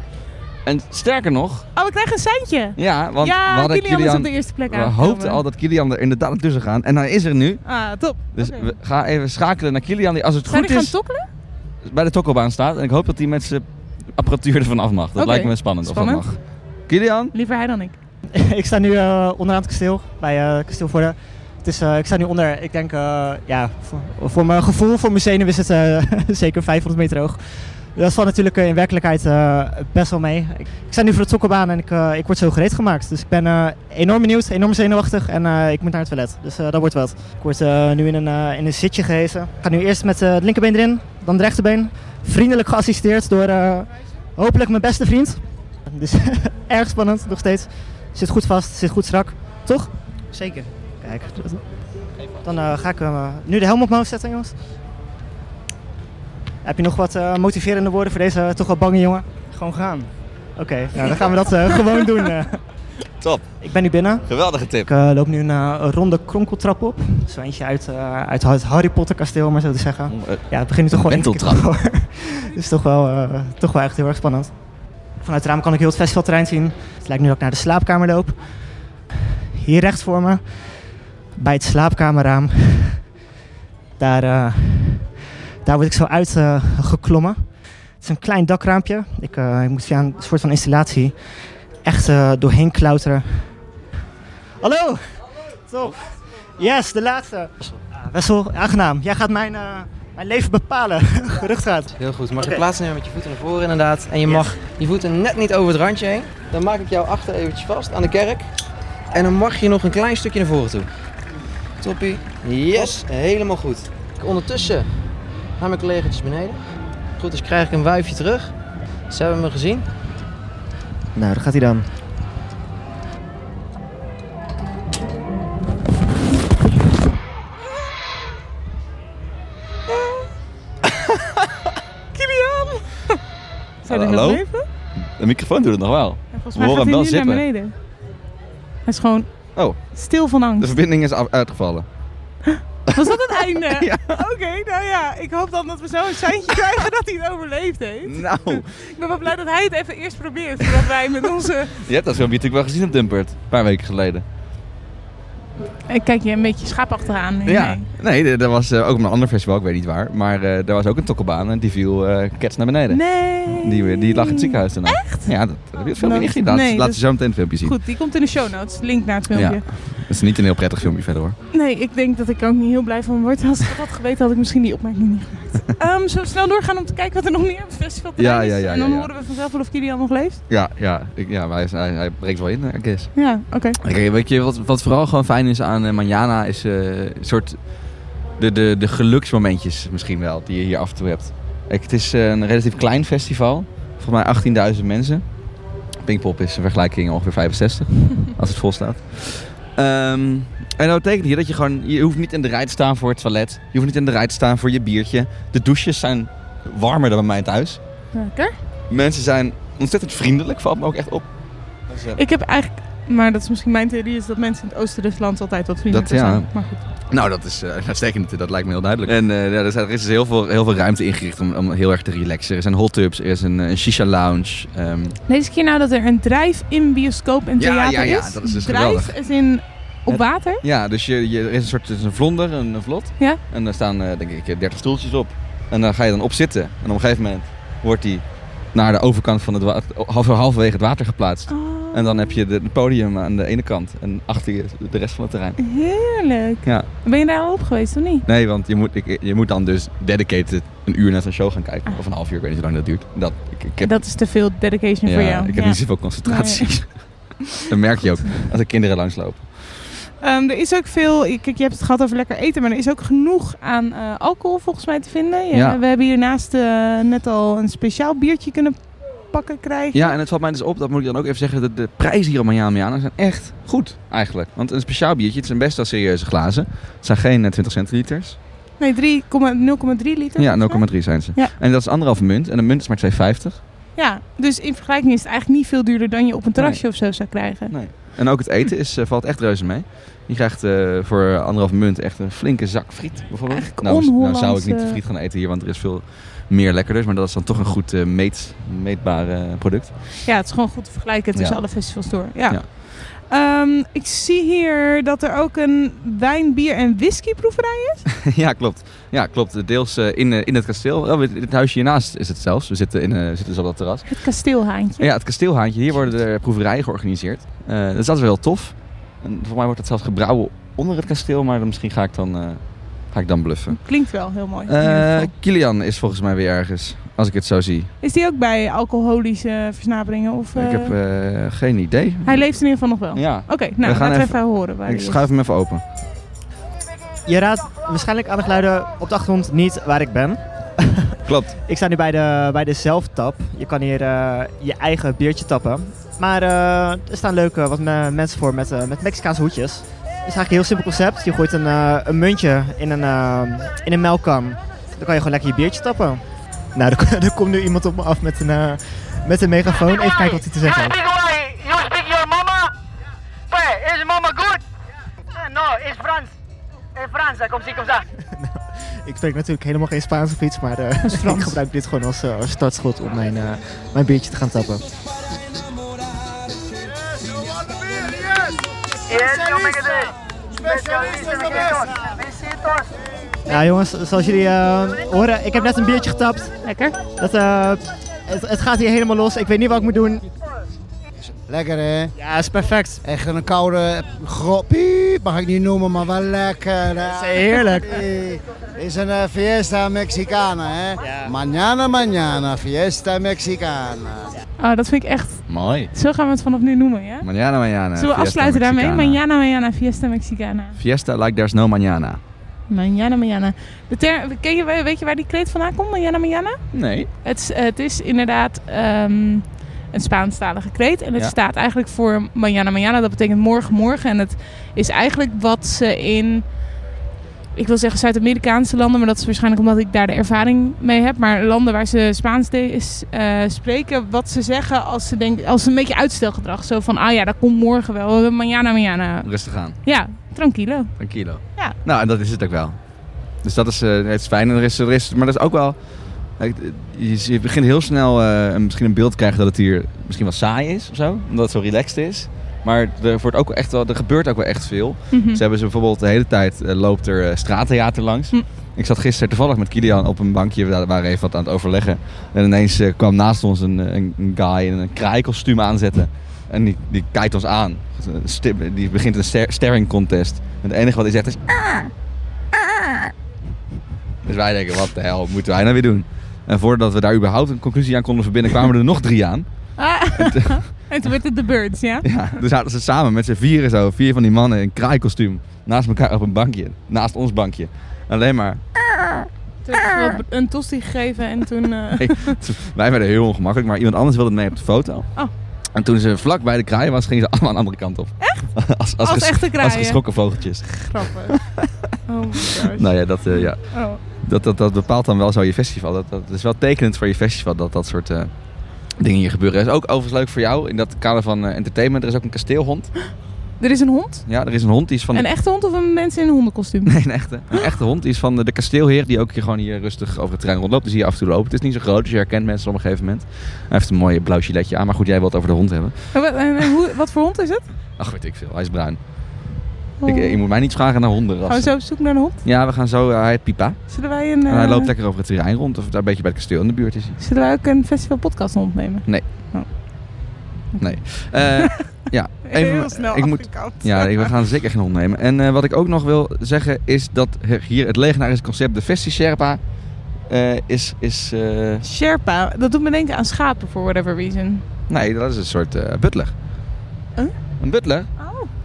[SPEAKER 2] En sterker nog...
[SPEAKER 1] Oh, ik krijg een seintje.
[SPEAKER 2] Ja, want we
[SPEAKER 1] ja,
[SPEAKER 2] hadden
[SPEAKER 1] Kilian, is op de
[SPEAKER 2] Kilian...
[SPEAKER 1] eerste plek
[SPEAKER 2] We
[SPEAKER 1] aangekomen.
[SPEAKER 2] hoopten al dat Kilian er inderdaad tussen gaat. En hij is er nu.
[SPEAKER 1] Ah, top.
[SPEAKER 2] Dus
[SPEAKER 1] Oké.
[SPEAKER 2] we gaan even schakelen naar Kilian. Die als het
[SPEAKER 1] Zijn
[SPEAKER 2] goed
[SPEAKER 1] die gaan
[SPEAKER 2] is
[SPEAKER 1] tokkelen?
[SPEAKER 2] bij de tokkelbaan staat. En ik hoop dat hij met zijn apparatuur ervan af mag. Dat
[SPEAKER 1] Oké.
[SPEAKER 2] lijkt me spannend, of dat
[SPEAKER 1] Spannend.
[SPEAKER 2] mag. Kilian?
[SPEAKER 1] Liever hij dan ik.
[SPEAKER 5] ik sta nu eh, onderaan het kasteel, bij eh Kasteel Vorden. Het is, eh, ik sta nu onder, ik denk, eh, ja, voor, voor mijn gevoel, voor mijn zenuw is het eh, zeker 500 meter hoog. Dat valt natuurlijk eh, in werkelijkheid eh, best wel mee. Ik, ik sta nu voor de sokkenbaan en ik, eh, ik word zo gereed gemaakt. Dus ik ben eh, enorm benieuwd, enorm zenuwachtig en eh, ik moet naar het toilet. Dus eh, dat wordt wat. Ik word eh, nu in een, eh, in een zitje gehezen. Ik ga nu eerst met eh, het linkerbeen erin, dan het rechterbeen. Vriendelijk geassisteerd door eh, hopelijk mijn beste vriend. Dus erg spannend, nog steeds. Zit goed vast, zit goed strak, toch? Zeker. Kijk, dat- dan eh, ga ik eh, nu de helm op mijn hoofd zetten, jongens. Heb je nog wat eh, motiverende woorden voor deze toch wel bange jongen? Gewoon gaan. Oké, nou, dan gaan we dat eh, gewoon doen. eh.
[SPEAKER 2] Top.
[SPEAKER 5] Ik ben nu binnen.
[SPEAKER 2] Geweldige
[SPEAKER 5] Ik
[SPEAKER 2] tip.
[SPEAKER 5] eh, loop nu een eh, ronde kronkeltrap op. Zo eentje uit, eh, uit het Harry Potter kasteel, om maar zo te zeggen.
[SPEAKER 2] eh,
[SPEAKER 5] Ja, het begint nu toch
[SPEAKER 2] Een
[SPEAKER 5] wel één keer te
[SPEAKER 2] wenteltrap.
[SPEAKER 5] komen. Het is toch wel, eh, toch wel echt heel erg spannend. Vanuit het raam kan ik heel het festivalterrein zien. Het lijkt nu dat ik naar de slaapkamer loop. Hier rechts voor me, bij het slaapkamerraam, daar, eh, daar word ik zo uitgeklommen. het is een klein dakraampje. Ik, eh, ik moet via een soort van installatie echt eh, doorheen klauteren. Hallo! Top! Yes, de laatste. Ah, Wessel, aangenaam. Jij gaat mijn, eh, mijn leven bepalen. Gerucht gaat.
[SPEAKER 7] Heel goed. Mag je
[SPEAKER 5] Oké.
[SPEAKER 7] plaatsnemen met je voeten naar voren inderdaad. En je
[SPEAKER 5] Yes.
[SPEAKER 7] mag je voeten net niet over het randje heen. Dan maak ik jou achter eventjes vast aan de kerk. En dan mag je nog een klein stukje naar voren toe. Toppie. Yes, helemaal goed. Ondertussen gaan mijn collega's beneden. Goed, dus krijg ik een wuifje terug. Ze hebben me gezien.
[SPEAKER 8] Nou, daar gaat hij dan.
[SPEAKER 1] Kilian! Zou je dit
[SPEAKER 2] Hallo?
[SPEAKER 1] nog leven?
[SPEAKER 2] De microfoon doet het nog wel.
[SPEAKER 1] Ja, volgens
[SPEAKER 2] We
[SPEAKER 1] mij
[SPEAKER 2] horen
[SPEAKER 1] gaat
[SPEAKER 2] hem
[SPEAKER 1] hij
[SPEAKER 2] wel
[SPEAKER 1] nu naar
[SPEAKER 2] zippen.
[SPEAKER 1] beneden. Hij is gewoon
[SPEAKER 2] Oh.
[SPEAKER 1] stil van
[SPEAKER 2] De
[SPEAKER 1] angst.
[SPEAKER 2] verbinding is af- uitgevallen.
[SPEAKER 1] Was dat het einde?
[SPEAKER 2] Ja.
[SPEAKER 1] Oké, nou ja. Ik hoop dan dat we zo een seintje krijgen dat hij het overleefd heeft.
[SPEAKER 2] Nou,
[SPEAKER 1] Ik ben wel blij dat hij het even eerst probeert. Voordat wij met onze...
[SPEAKER 2] je hebt dat filmpje natuurlijk wel gezien op Dumpert. Een paar weken geleden.
[SPEAKER 1] Ik kijk je een beetje schaapachtig aan. Nee,
[SPEAKER 2] Ja,
[SPEAKER 1] nee.
[SPEAKER 2] nee, er- er was eh, ook op een ander festival, ik weet niet waar. Maar eh er was ook een tokkelbaan en die viel eh kets naar beneden.
[SPEAKER 1] Nee.
[SPEAKER 2] Die, eh, die lag in het ziekenhuis daarna. Echt? Ja, dat heb je het filmpje
[SPEAKER 1] Nou,
[SPEAKER 2] niet gezien. Laat,
[SPEAKER 1] nee,
[SPEAKER 2] laat
[SPEAKER 1] dat-
[SPEAKER 2] je zo meteen het filmpje zien.
[SPEAKER 1] Goed, die komt in de show notes. Link naar het filmpje.
[SPEAKER 2] Ja. Het is niet een heel prettig filmpje verder hoor.
[SPEAKER 1] Nee, ik denk dat ik er ook niet heel blij van word. Als ik dat had geweten, had ik misschien die opmerking niet gemaakt. Ehm zullen we snel doorgaan om te kijken wat er nog meer op het festival
[SPEAKER 2] Ja,
[SPEAKER 1] is?
[SPEAKER 2] ja, ja,
[SPEAKER 1] en dan
[SPEAKER 2] ja, ja.
[SPEAKER 1] horen we vanzelf wel of Kilian nog leeft.
[SPEAKER 2] Ja, ja, ik, ja maar hij, is- hij, hij breekt wel in, eh, I guess.
[SPEAKER 1] Ja, oké.
[SPEAKER 2] Oké, weet je, wat, wat vooral gewoon fijn is aan eh, Manjana is eh, een soort de, de, de geluksmomentjes misschien wel, die je hier af en toe hebt. Kijk, het is eh, een relatief klein festival, volgens mij 18.000 mensen. Pinkpop is een vergelijking ongeveer 65, als het vol staat. Ehm, en dat betekent hier dat je gewoon, je hoeft niet in de rij te staan voor het toilet. Je hoeft niet in de rij te staan voor je biertje. De douches zijn warmer dan bij mij thuis.
[SPEAKER 1] Lekker.
[SPEAKER 2] Mensen zijn ontzettend vriendelijk, valt me ook echt op. Dat is, eh,
[SPEAKER 1] Ik heb eigenlijk... Maar dat is misschien mijn theorie, is dat mensen in het oosten des lands altijd wat vriendelijker
[SPEAKER 2] Dat, ja.
[SPEAKER 1] zijn. Maar goed.
[SPEAKER 2] Nou, dat is eh uitstekend. Dat lijkt me heel duidelijk. En eh, ja, er, zijn- er is dus heel veel, heel veel ruimte ingericht om, om heel erg te relaxen. Er zijn hot tubs, er is een, eh, een shisha lounge. ehm,
[SPEAKER 1] Lees ik hier nou dat er een drijf in bioscoop en
[SPEAKER 2] Ja,
[SPEAKER 1] theater
[SPEAKER 2] ja, ja, dat is dus
[SPEAKER 1] drijf
[SPEAKER 2] geweldig.
[SPEAKER 1] is in... Op water?
[SPEAKER 2] ja, dus je, je, er is een soort er is een vlonder, een, een vlot.
[SPEAKER 1] Ja.
[SPEAKER 2] En daar staan, eh, denk ik, eh, 30 stoeltjes op. En daar ga je dan op zitten. En op een gegeven moment wordt die naar de overkant van het water, half, halverwege het water geplaatst.
[SPEAKER 1] Oh.
[SPEAKER 2] En dan heb je de- het podium aan de ene kant en achter je de rest van het terrein.
[SPEAKER 1] Heerlijk.
[SPEAKER 2] Ja.
[SPEAKER 1] Ben je daar al op geweest of niet?
[SPEAKER 2] Nee, want je moet, ik, je moet dan dus dedicated een uur naar zo'n show gaan kijken. Of een half uur, ik weet niet hoe lang dat duurt. Dat, ik, ik heb
[SPEAKER 1] Dat is te veel dedication voor jou.
[SPEAKER 2] Ik heb
[SPEAKER 1] Ja.
[SPEAKER 2] niet zoveel concentratie. Dat merk je ook als er kinderen langslopen.
[SPEAKER 1] Ehm, er is ook veel, kijk, je hebt het gehad over lekker eten, maar er is ook genoeg aan eh, alcohol volgens mij te vinden. Je-
[SPEAKER 2] Ja.
[SPEAKER 1] We hebben hiernaast eh, net al een speciaal biertje kunnen pakken krijgen.
[SPEAKER 2] Ja, en het valt mij dus op, dat moet ik dan ook even zeggen, dat de prijzen hier op Miami zijn echt goed eigenlijk. Want een speciaal biertje, het zijn best wel serieuze glazen. Het zijn geen eh, 20 centiliters.
[SPEAKER 1] Nee, 3,0,3 liter.
[SPEAKER 2] Ja,
[SPEAKER 1] volgens mij.
[SPEAKER 2] 0,3 zijn ze.
[SPEAKER 1] Ja.
[SPEAKER 2] En dat is anderhalve munt. En een munt is maar 2,50.
[SPEAKER 1] Ja, dus in vergelijking is het eigenlijk niet veel duurder dan je op een terrasje of zo zou krijgen.
[SPEAKER 2] Nee. En ook het eten is, eh, valt echt reuze mee. Je krijgt eh, voor anderhalve munt echt een flinke zak friet bijvoorbeeld.
[SPEAKER 1] Eigenlijk
[SPEAKER 2] nou, nou zou ik
[SPEAKER 1] on-Hollandse-
[SPEAKER 2] niet de friet gaan eten hier, want er is veel meer lekkerders. Maar dat is dan toch een goed eh, meet, meetbaar eh, product.
[SPEAKER 1] Ja, het is gewoon goed te vergelijken tussen
[SPEAKER 2] Ja.
[SPEAKER 1] alle festivals door. Ja.
[SPEAKER 2] Ja.
[SPEAKER 1] Ehm, ik zie hier dat er ook een wijn, bier en whisky proeverij
[SPEAKER 2] Ja, klopt. Ja, klopt. Deels eh, in, eh, in het kasteel. Oh, in het huisje hiernaast is het zelfs. We zitten, in, eh, we zitten dus op dat terras.
[SPEAKER 1] is. Het kasteelhaantje.
[SPEAKER 2] Ja, het kasteelhaantje. Hier worden er proeverijen georganiseerd. Eh, dat is altijd wel heel tof. En volgens mij wordt het zelfs gebrouwen onder het kasteel. Maar dan misschien ga ik dan, eh, ga ik dan bluffen.
[SPEAKER 1] Klinkt wel heel mooi. in ieder
[SPEAKER 2] Eh
[SPEAKER 1] geval.
[SPEAKER 2] Kilian is volgens mij weer ergens. Als ik het zo zie.
[SPEAKER 1] Is die ook bij alcoholische versnaperingen? Of, eh,
[SPEAKER 2] Ik heb eh, geen idee.
[SPEAKER 1] Hij leeft in ieder geval nog wel.
[SPEAKER 2] Ja.
[SPEAKER 1] Oké, nou,
[SPEAKER 2] We gaan
[SPEAKER 1] laten we
[SPEAKER 2] even-
[SPEAKER 1] even horen waar
[SPEAKER 2] Ik
[SPEAKER 1] hij is.
[SPEAKER 2] schuif hem even open.
[SPEAKER 5] Je raadt waarschijnlijk aan de geluiden op de achtergrond niet waar ik ben.
[SPEAKER 2] Klopt.
[SPEAKER 5] Ik sta nu bij de, bij de zelftap. Je kan hier eh, je eigen biertje tappen. Maar eh, er staan leuke wat me- mensen voor met, eh, met Mexicaanse hoedjes. Het is eigenlijk een heel simpel concept. Je gooit een, eh, een muntje in een, eh, in een melkkam. Dan kan je gewoon lekker je biertje tappen. Nou, er, ko- er komt nu iemand op me af met een, eh, met een megafoon. Even kijken wat hij te zeggen heeft.
[SPEAKER 9] Why? You speak your mama? Why? Is mama good? Eh, No, it's France. It's France, kom zie, kom za.
[SPEAKER 5] Ik spreek natuurlijk helemaal geen Spaans of iets, maar eh, ik gebruik dit gewoon als, eh, als startschot om mijn, eh, mijn biertje te gaan tappen.
[SPEAKER 9] Yes, you make it day. Specialisten, besitos. Besitos.
[SPEAKER 5] Ja jongens, zoals jullie eh, horen, ik heb net een biertje getapt.
[SPEAKER 1] Lekker.
[SPEAKER 5] Dat, eh, het, het gaat hier helemaal los. Ik weet niet wat ik moet doen.
[SPEAKER 10] Lekker hè?
[SPEAKER 5] Ja, is perfect.
[SPEAKER 10] Echt een koude grop. Piep, mag ik niet noemen, maar wel lekker. hè?
[SPEAKER 5] Het is heerlijk.
[SPEAKER 10] Hey, is een eh, fiesta mexicana hè? Mañana, mañana, fiesta mexicana.
[SPEAKER 1] Oh, dat vind ik echt...
[SPEAKER 2] Mooi.
[SPEAKER 1] Zo gaan we het vanaf nu noemen, ja?
[SPEAKER 2] Manjana, manjana.
[SPEAKER 1] Zullen we
[SPEAKER 2] Fiesta
[SPEAKER 1] afsluiten daarmee?
[SPEAKER 2] Mexicana.
[SPEAKER 1] Mañana, mañana, fiesta mexicana.
[SPEAKER 2] Fiesta like there's no manjana.
[SPEAKER 1] Manjana, manjana. De ter, ken je, weet je waar die kreet vandaan komt? Manjana, manjana?
[SPEAKER 2] Nee.
[SPEAKER 1] Het, is- het is inderdaad ehm, een Spaanstalige kreet. En het
[SPEAKER 2] Ja.
[SPEAKER 1] staat eigenlijk voor manjana, manjana. Dat betekent morgen, morgen. En het is eigenlijk wat ze in... Ik wil zeggen Zuid-Amerikaanse landen, maar dat is waarschijnlijk omdat ik daar de ervaring mee heb. Maar landen waar ze Spaans de- is, eh, spreken, wat ze zeggen als ze, denken, als ze een beetje uitstelgedrag. Zo van, ah ja, dat komt morgen wel. Manjana, manjana.
[SPEAKER 2] Rustig aan.
[SPEAKER 1] Ja, tranquilo.
[SPEAKER 2] Een kilo.
[SPEAKER 1] Ja.
[SPEAKER 2] Nou, en dat is het ook wel. Dus dat is, eh, het is fijn. En er is, er is, maar dat is ook wel... kijk, Je, je begint heel snel eh, een- misschien een beeld te krijgen dat het hier misschien wel saai is of zo. Omdat het zo relaxed is. Maar er, wordt ook echt wel, er gebeurt ook wel echt veel.
[SPEAKER 11] Mhm.
[SPEAKER 2] Ze hebben ze bijvoorbeeld de hele tijd eh, loopt er eh, straattheater langs. Ik zat gisteren toevallig met Kilian op een bankje. We waren even wat aan het overleggen. En ineens eh, kwam naast ons een, eh, een, een guy in een kraaienkostuum aanzetten. En die, die kijkt ons aan. Sti- Die begint een ster- staring contest. En het enige wat hij zegt is... Dus wij denken, wat de hel moeten wij nou weer doen? En voordat we daar überhaupt een conclusie aan konden verbinden, kwamen er nog drie aan.
[SPEAKER 1] Ah, en toen werd het de birds, ja?
[SPEAKER 2] Ja, dus zaten ze samen met z'n vieren zo, vier van die mannen in kraaikostuum, naast elkaar op een bankje, naast ons bankje. Alleen maar,
[SPEAKER 1] Toen heb ik wel een tosti gegeven en toen... eh,
[SPEAKER 2] hey, wij werden heel ongemakkelijk, maar iemand anders wilde het mee op de foto.
[SPEAKER 1] Oh.
[SPEAKER 2] En toen ze vlak bij de kraai was, gingen ze allemaal aan de andere kant op. Echt? Als, als,
[SPEAKER 1] Als
[SPEAKER 2] ges-
[SPEAKER 1] echte kraaien.
[SPEAKER 2] Als geschrokken vogeltjes.
[SPEAKER 1] Grappig. Oh my gosh.
[SPEAKER 2] Nou ja, dat, eh, ja.
[SPEAKER 1] Oh.
[SPEAKER 2] Dat, dat, dat bepaalt dan wel zo je festival. Dat, dat is wel tekenend voor je festival dat dat soort eh, dingen hier gebeuren. Er is ook overigens leuk voor jou, in dat kader van eh, entertainment, er is ook een kasteelhond.
[SPEAKER 1] Er is een hond?
[SPEAKER 2] Ja, er is een hond die is van...
[SPEAKER 1] Een echte hond of een mens in een hondenkostuum?
[SPEAKER 2] Nee, een echte. Een echte hond. Die is van de kasteelheer die ook hier gewoon hier rustig over het terrein rondloopt. Dus hier af en toe lopen. Het is niet zo groot, dus je herkent mensen op een gegeven moment. Hij heeft een mooi blauw giletje aan. Maar goed, jij wilt over de hond hebben.
[SPEAKER 1] En wat- en- en hoe, wat voor hond is het?
[SPEAKER 2] Ach, weet ik veel. Hij is bruin.
[SPEAKER 1] Oh.
[SPEAKER 2] Ik, je moet mij niet vragen naar
[SPEAKER 1] Gaan we
[SPEAKER 2] hondenrassen.
[SPEAKER 1] zo op zoek naar een hond?
[SPEAKER 2] Ja, we gaan zo. eh, hij heet Pipa.
[SPEAKER 1] Zullen wij een,
[SPEAKER 2] En hij
[SPEAKER 1] eh,
[SPEAKER 2] loopt lekker over het terrein rond. Of daar een beetje bij het kasteel in de buurt is hij.
[SPEAKER 1] Zullen wij ook een festival podcast hond nemen?
[SPEAKER 2] Nee. Nee. Eh, ja,
[SPEAKER 1] Heel
[SPEAKER 2] maar-
[SPEAKER 1] snel afgekapt.
[SPEAKER 2] Ja, nee, we gaan zeker geen hond nemen. En eh, wat ik ook nog wil zeggen is dat er hier het legendarische concept, de Festi Sherpa, eh, is... is eh,
[SPEAKER 1] Sherpa, dat doet me denken aan schapen, for whatever reason.
[SPEAKER 2] nee, dat is een soort eh, butler. Een butler?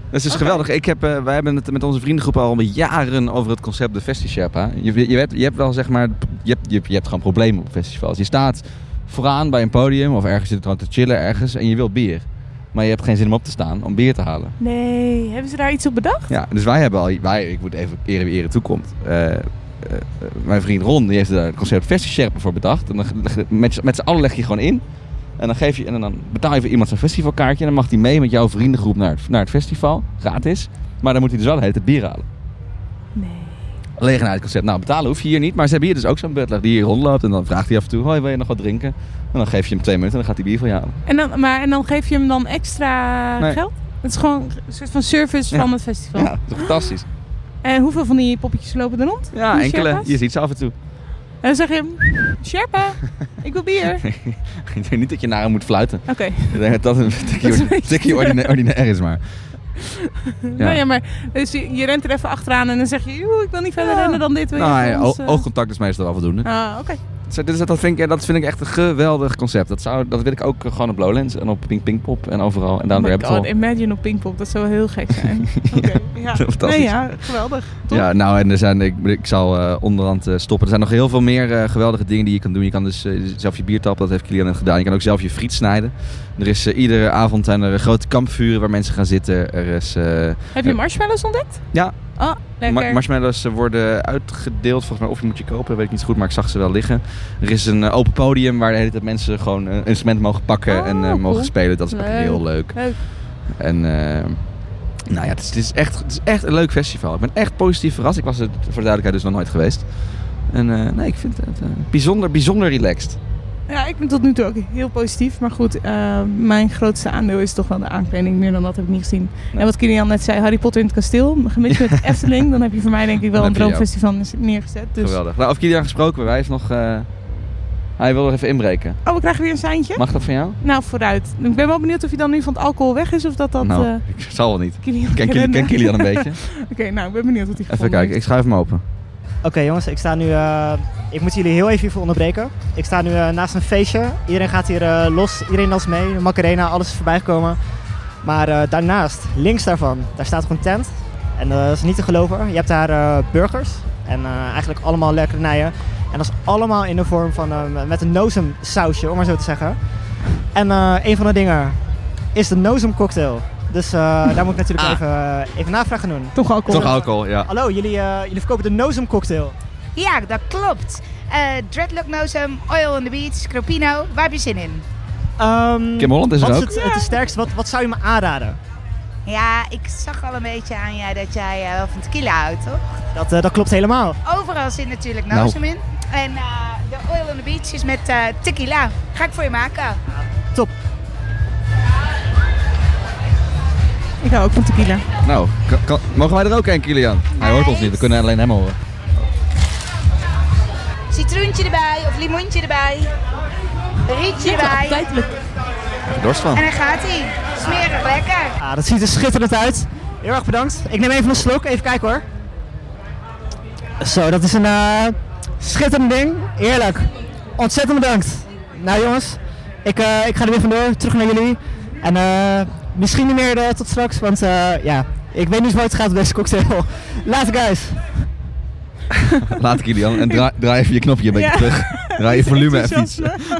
[SPEAKER 2] Dat is dus geweldig. Ik heb, eh, wij hebben het met onze vriendengroep al jaren over het concept de Festi Sherpa. Je, je, hebt, je hebt wel zeg maar, je hebt, je, hebt- je hebt gewoon problemen op festivals. Je staat vooraan bij een podium of ergens zit gewoon te chillen ergens en je wil bier. Maar je hebt geen zin om op te staan om bier te halen.
[SPEAKER 1] Nee, hebben ze daar iets op bedacht?
[SPEAKER 2] Ja, dus wij hebben al, wij, ik moet even eren wie eren toekomt. Eh, eh, mijn vriend Ron die heeft daar het concept festivalsherpen voor bedacht. En dan leg je- met, z'n- met z'n allen leg je gewoon in. En dan, geef je, en dan betaal je voor iemand zijn festivalkaartje. En dan mag hij mee met jouw vriendengroep naar het, naar het festival. Gratis. Maar dan moet hij dus wel de hele tijd bier halen. Nee. Legenheidsconcept. Nou, betalen hoef je hier niet. Maar ze hebben hier dus ook zo'n butler die hier rondloopt. En dan vraagt hij af en toe, hoi, wil je nog wat drinken? En dan geef je hem twee minuten en dan gaat hij bier voor je halen.
[SPEAKER 1] En dan, maar, en dan geef je hem dan extra
[SPEAKER 2] Nee.
[SPEAKER 1] geld? Het is gewoon een soort van service
[SPEAKER 2] Ja.
[SPEAKER 1] van het festival.
[SPEAKER 2] Ja, dat is fantastisch.
[SPEAKER 1] En hoeveel van die poppetjes lopen er rond?
[SPEAKER 2] Ja,
[SPEAKER 1] Die
[SPEAKER 2] enkele.
[SPEAKER 1] Sherpa's?
[SPEAKER 2] Je ziet ze af en toe.
[SPEAKER 1] En dan zeg je hem, Sherpa, ik wil bier.
[SPEAKER 2] ik denk niet dat je naar hem moet fluiten.
[SPEAKER 1] Oké.
[SPEAKER 2] Ik denk dat dat een
[SPEAKER 1] Dat is een
[SPEAKER 2] tikje,
[SPEAKER 1] beetje-
[SPEAKER 2] tikje ordinair, ordinair is, maar...
[SPEAKER 1] Nou ja, maar dus je, je rent er even achteraan en dan zeg je, "Joe, ik wil niet verder rennen dan dit. wil je
[SPEAKER 2] Nou, ja,
[SPEAKER 1] voor ons,
[SPEAKER 2] o-
[SPEAKER 1] eh?"
[SPEAKER 2] oogcontact is meestal wel voldoende.
[SPEAKER 1] Ah, oké.
[SPEAKER 2] Zo, dit is- Dat, vind ik, dat vind ik echt een geweldig concept. Dat, zou, dat wil ik ook eh, gewoon op Lowlands en op Pink Pink Pop en overal. En
[SPEAKER 1] Oh
[SPEAKER 2] down the
[SPEAKER 1] my
[SPEAKER 2] rabbit
[SPEAKER 1] god,
[SPEAKER 2] hole.
[SPEAKER 1] imagine op Pinkpop, dat zou wel heel gek zijn. Ja.
[SPEAKER 2] Fantastisch.
[SPEAKER 1] Nee, ja, geweldig. Toch?
[SPEAKER 2] Ja, nou, en er zijn, ik, ik zal eh, onderhand eh, stoppen. Er zijn nog heel veel meer eh, geweldige dingen die je kan doen. Je kan dus eh, zelf je bier tappen, dat heeft Kilian net gedaan. Je kan ook zelf je friet snijden. Er is, eh, iedere avond zijn er grote kampvuren waar mensen gaan zitten. Er is, eh,
[SPEAKER 1] Heb je marshmallows ontdekt?
[SPEAKER 2] Ja.
[SPEAKER 1] Oh, lekker.
[SPEAKER 2] Ma- marshmallows eh, worden uitgedeeld, volgens mij. Of je moet je kopen, weet ik niet zo goed, maar ik zag ze wel liggen. Er is een eh, open podium waar de hele tijd mensen gewoon een instrument mogen pakken en eh, mogen
[SPEAKER 1] Oh, cool.
[SPEAKER 2] spelen. Dat is ook
[SPEAKER 1] Leuk.
[SPEAKER 2] heel leuk.
[SPEAKER 1] Leuk.
[SPEAKER 2] En eh, nou ja, het is, het is echt, het is echt een leuk festival. Ik ben echt positief verrast. Ik was er voor de duidelijkheid dus nog nooit geweest. En eh, nee, ik vind het eh, bijzonder, bijzonder relaxed.
[SPEAKER 1] Ja, ik ben tot nu toe ook heel positief. Maar goed, eh, mijn grootste aandeel is toch wel de aankleding. Meer dan dat heb ik niet gezien. En wat Kilian net zei, Harry Potter in het kasteel. Gemixt met Efteling. Dan heb je voor mij denk ik wel
[SPEAKER 2] Dan
[SPEAKER 1] een
[SPEAKER 2] heb je
[SPEAKER 1] droomfestival neergezet. Dus...
[SPEAKER 2] Geweldig. Nou, over Kilian gesproken, hij heeft nog... eh, hij wil nog even inbreken.
[SPEAKER 1] Oh, we krijgen weer een seintje?
[SPEAKER 2] Mag dat van jou?
[SPEAKER 1] Nou, vooruit. Ik ben wel benieuwd of je dan nu van het alcohol weg is of dat dat...
[SPEAKER 2] nou,
[SPEAKER 1] eh,
[SPEAKER 2] ik zal wel niet.
[SPEAKER 1] Kilian
[SPEAKER 2] ken, Kili- ken
[SPEAKER 1] Renner.
[SPEAKER 2] Kilian een beetje?
[SPEAKER 1] eh, Oké, nou, ik ben benieuwd wat hij
[SPEAKER 2] Even
[SPEAKER 1] gevonden
[SPEAKER 2] kijken, ik schuif hem open.
[SPEAKER 5] Oké jongens, ik sta nu. eh, ik moet jullie heel even hiervoor onderbreken. Ik sta nu eh, naast een feestje. Iedereen gaat hier eh, los, iedereen danst mee. De Macarena, alles is voorbij gekomen. Maar eh, daarnaast, links daarvan, daar staat gewoon een tent. En eh, dat is niet te geloven. Je hebt daar eh, burgers en eh, eigenlijk allemaal lekkernijen. En dat is allemaal in de vorm van eh, met een nozem sausje, om maar zo te zeggen. En eh, een van de dingen is de nozem cocktail. Dus eh, daar moet ik natuurlijk
[SPEAKER 2] Ah.
[SPEAKER 5] even, eh, even navragen doen.
[SPEAKER 1] Toch
[SPEAKER 2] Toch alcohol, ja.
[SPEAKER 5] Hallo, jullie, eh, jullie verkopen de nozem cocktail.
[SPEAKER 11] Ja, dat klopt. Eh, dreadlock Nosem, Oil on the Beach, Cropino. Waar heb je zin in?
[SPEAKER 5] Ehm,
[SPEAKER 2] Kim Holland is
[SPEAKER 5] wat
[SPEAKER 2] er
[SPEAKER 5] Het,
[SPEAKER 2] ook.
[SPEAKER 5] het sterkste, wat, wat zou je me aanraden?
[SPEAKER 11] Ja, ik zag al een beetje aan jij dat jij eh, wel van tequila houdt, toch?
[SPEAKER 5] Dat, eh, dat klopt helemaal.
[SPEAKER 11] Overal zit natuurlijk
[SPEAKER 5] Nou.
[SPEAKER 11] Nosem in. En eh, de Oil on the Beach is met eh, tequila. Ga ik voor je maken.
[SPEAKER 1] Ik hou ook van tequila.
[SPEAKER 2] Nou, kan- kan- mogen wij er ook een, Kilian? Hij hoort ons niet, we kunnen alleen hem horen.
[SPEAKER 11] Citroentje erbij of limoentje erbij. Rietje erbij.
[SPEAKER 2] Even dorst
[SPEAKER 11] En
[SPEAKER 2] van.
[SPEAKER 11] dan gaat hij. Smerig, lekker.
[SPEAKER 5] Ah, dat ziet er schitterend uit. Heel erg bedankt. Ik neem even een slok, even kijken hoor. Zo, dat is een eh, schitterend ding. Eerlijk. Ontzettend bedankt. Nou jongens, ik, eh, ik ga er weer vandoor. Terug naar jullie. En eh, misschien niet meer eh, tot straks, want eh, ja, ik weet niet hoe het gaat met deze cocktail. Later guys.
[SPEAKER 2] Laat Kilian en draai, draai even je knopje een beetje
[SPEAKER 1] Ja.
[SPEAKER 2] terug. Draai je volume even iets.
[SPEAKER 1] Enthousiasme.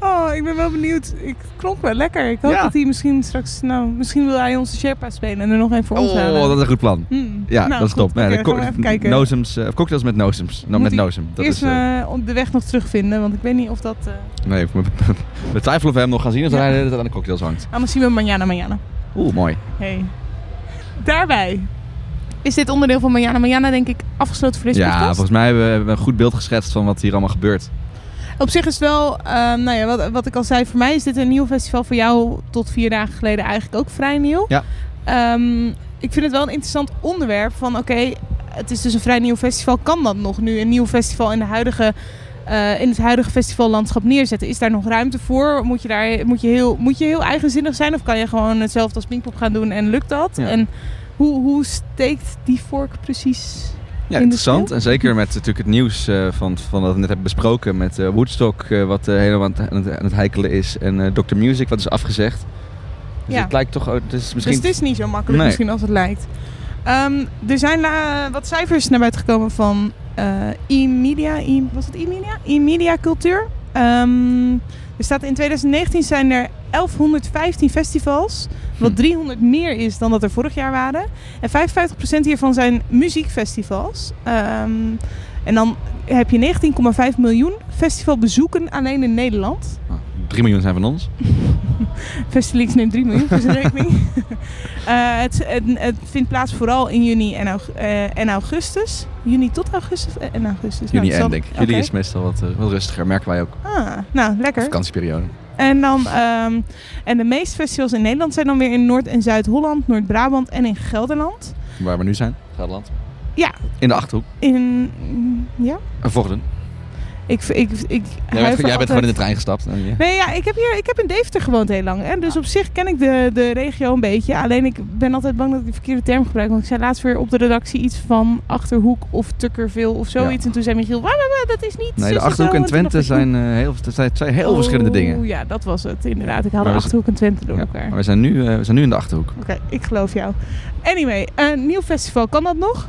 [SPEAKER 1] oh, ik ben wel benieuwd. Ik het klonk wel lekker. Ik hoop dat hij misschien straks... Nou, misschien wil hij onze Sherpa spelen en er nog één voor ons
[SPEAKER 2] Oh,
[SPEAKER 1] halen.
[SPEAKER 2] dat is een goed plan.
[SPEAKER 1] Hmm.
[SPEAKER 2] Ja,
[SPEAKER 1] Nou,
[SPEAKER 2] dat is
[SPEAKER 1] goed.
[SPEAKER 2] top. Ja,
[SPEAKER 1] Oké,
[SPEAKER 2] de
[SPEAKER 1] gaan
[SPEAKER 2] co-
[SPEAKER 1] we even kijken.
[SPEAKER 2] nozems, eh, of cocktails met nozems. Nou,
[SPEAKER 1] Moet
[SPEAKER 2] met
[SPEAKER 1] hij
[SPEAKER 2] nozem. Dat
[SPEAKER 1] eerst
[SPEAKER 2] is, eh,
[SPEAKER 1] eh, op de weg nog terugvinden, want ik weet niet of dat... eh,
[SPEAKER 2] nee, we, we twijfelen of we hem nog gaan zien als hij de hele tijd aan de cocktails hangt.
[SPEAKER 1] Anders zien we Manjana Manjana.
[SPEAKER 2] Oeh, mooi.
[SPEAKER 1] Hey. Daarbij is dit onderdeel van Manjana Manjana denk ik afgesloten voor deze
[SPEAKER 2] Ja,
[SPEAKER 1] podcast.
[SPEAKER 2] volgens mij hebben we- hebben we een goed beeld geschetst van wat hier allemaal gebeurt.
[SPEAKER 1] Op zich is het wel, ehm, nou ja, wat, wat ik al zei, voor mij is dit een nieuw festival. Voor jou tot vier dagen geleden eigenlijk ook vrij nieuw.
[SPEAKER 2] Ja.
[SPEAKER 1] Ehm, ik vind het wel een interessant onderwerp van oké, het is dus een vrij nieuw festival. Kan dat nog nu een nieuw festival in, de huidige, eh, in het huidige festivallandschap neerzetten? Is daar nog ruimte voor? Moet je, daar, moet, je heel, moet je heel eigenzinnig zijn of kan je gewoon hetzelfde als Pinkpop gaan doen en lukt dat?
[SPEAKER 2] Ja.
[SPEAKER 1] En hoe, hoe steekt die vork precies?
[SPEAKER 2] Ja,
[SPEAKER 1] in de
[SPEAKER 2] interessant. En zeker met natuurlijk het nieuws eh, van, van wat we net hebben besproken. Met eh, Woodstock, eh, wat eh, helemaal aan het, aan het- aan het heikelen is. En eh, Dr. Music, wat is afgezegd. Dus
[SPEAKER 1] Ja.
[SPEAKER 2] het lijkt toch... ook- Het is misschien...
[SPEAKER 1] Dus het is niet zo makkelijk
[SPEAKER 2] Nee.
[SPEAKER 1] misschien als het lijkt. Ehm, er zijn eh, wat cijfers naar buiten gekomen van eh, e-media. e- was het e-media? E-media cultuur. Ehm, er staat in 2019 zijn er 1115 festivals.
[SPEAKER 2] Hm.
[SPEAKER 1] Wat 300 meer is dan dat er vorig jaar waren. En 55% hiervan zijn muziekfestivals. Ehm, en dan heb je 19,5 miljoen festivalbezoeken alleen in Nederland.
[SPEAKER 2] 3 Ah, miljoen zijn van ons.
[SPEAKER 1] Festilix neemt 3 miljoen voor zijn rekening. Eh, het, het, het vindt plaats vooral in juni en, aug- eh, en augustus. Juni tot augustus eh, en augustus.
[SPEAKER 2] Juni
[SPEAKER 1] Nou, het
[SPEAKER 2] en
[SPEAKER 1] zal-
[SPEAKER 2] denk ik. Jullie
[SPEAKER 1] oké.
[SPEAKER 2] is meestal wat, eh, wat rustiger, merken wij ook.
[SPEAKER 1] Ah, nou, lekker.
[SPEAKER 2] Vakantieperiode.
[SPEAKER 1] En, dan, ehm, en de meeste festivals in Nederland zijn dan weer in Noord- en Zuid-Holland, Noord-Brabant en in Gelderland.
[SPEAKER 2] Waar we nu zijn. Gelderland.
[SPEAKER 1] Ja,
[SPEAKER 2] In de Achterhoek.
[SPEAKER 1] in... Ja?
[SPEAKER 2] En Vorden.
[SPEAKER 1] Ik, ik, ik, jij
[SPEAKER 2] Jij bent, jij bent gewoon in de trein gestapt. En, ja.
[SPEAKER 1] Nee, ja, ik heb, hier, ik heb in Deventer gewoond heel lang. Hè?
[SPEAKER 2] Ah.
[SPEAKER 1] Dus op zich ken ik de, de regio een beetje. Alleen ik ben altijd bang dat ik de verkeerde term gebruik. Want ik zei laatst weer op de redactie iets van Achterhoek of Tukkerveel of zoiets. En toen zei Michiel, "Wa, wa, wa, dat is niet
[SPEAKER 2] Nee,
[SPEAKER 1] zus
[SPEAKER 2] de
[SPEAKER 1] en
[SPEAKER 2] Achterhoek
[SPEAKER 1] zo."
[SPEAKER 2] en
[SPEAKER 1] toen dacht
[SPEAKER 2] Twente
[SPEAKER 1] ik,
[SPEAKER 2] zijn eh, heel, dat zijn twee heel
[SPEAKER 1] "Oeh,
[SPEAKER 2] verschillende dingen.
[SPEAKER 1] Oh, Ja, dat was het inderdaad. Ik haal
[SPEAKER 2] Maar
[SPEAKER 1] de
[SPEAKER 2] we-
[SPEAKER 1] Achterhoek en Twente door
[SPEAKER 2] Ja,
[SPEAKER 1] elkaar.
[SPEAKER 2] maar we zijn, nu, eh, we zijn nu in de Achterhoek.
[SPEAKER 1] Oké, ik geloof jou. Anyway, een nieuw festival, kan dat nog?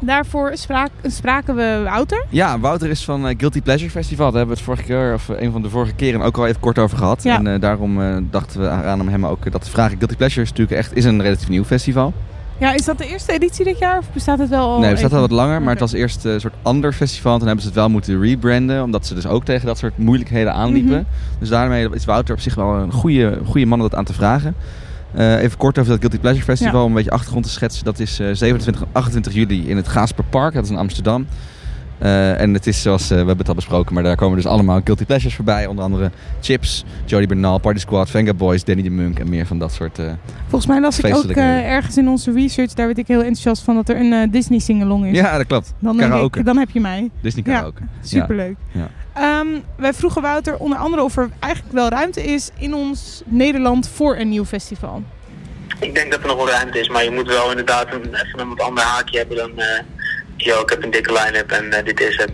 [SPEAKER 1] Daarvoor spraak, spraken we Wouter.
[SPEAKER 2] Ja, Wouter is van eh, Guilty Pleasure Festival. Daar hebben we het vorige keer, of eh, een van de vorige keren, ook al even kort over gehad.
[SPEAKER 1] Ja.
[SPEAKER 2] En eh, daarom eh, dachten we aan om hem ook eh, dat te vragen. Guilty Pleasure is natuurlijk echt is een relatief nieuw festival.
[SPEAKER 1] Ja, is dat de eerste editie dit jaar of bestaat het wel al?
[SPEAKER 2] nee, het staat al
[SPEAKER 1] Oh, even?
[SPEAKER 2] wat langer, maar
[SPEAKER 1] Oké.
[SPEAKER 2] het was eerst eh, een soort ander festival. En toen hebben ze het wel moeten rebranden, omdat ze dus ook tegen dat soort moeilijkheden aanliepen.
[SPEAKER 1] Mhm.
[SPEAKER 2] Dus daarmee is Wouter op zich wel een goede, goede man om dat aan te vragen. Eh, even kort over dat Guilty Pleasure Festival,
[SPEAKER 1] Ja.
[SPEAKER 2] om een beetje achtergrond te schetsen. Dat is eh, 27 en 28 juli in het Gaasperpark, dat is in Amsterdam. Eh, en het is zoals, eh, we hebben het al besproken, maar daar komen dus allemaal Guilty Pleasures voorbij. Onder andere Chips, Jody Bernal, Party Squad, Venga Boys, Danny de Munk en meer van dat soort... eh,
[SPEAKER 1] Volgens mij las ik ook
[SPEAKER 2] feestelijke-
[SPEAKER 1] eh, ergens in onze research, daar werd ik heel enthousiast van, dat er een eh, Disney singalong is.
[SPEAKER 2] Ja, dat klopt.
[SPEAKER 1] Dan, denk
[SPEAKER 2] karaoke.
[SPEAKER 1] ik, dan heb je mij.
[SPEAKER 2] Disney
[SPEAKER 1] Ja,
[SPEAKER 2] karaoke. Ja.
[SPEAKER 1] superleuk.
[SPEAKER 2] Ja.
[SPEAKER 1] Ehm, wij vroegen Wouter onder andere of er eigenlijk wel ruimte is in ons Nederland voor een nieuw festival.
[SPEAKER 12] Ik denk dat er nog wel ruimte is, maar je moet wel inderdaad een, even een wat ander haakje hebben dan... eh, Yo, ik heb een dikke line-up en eh, dit is het.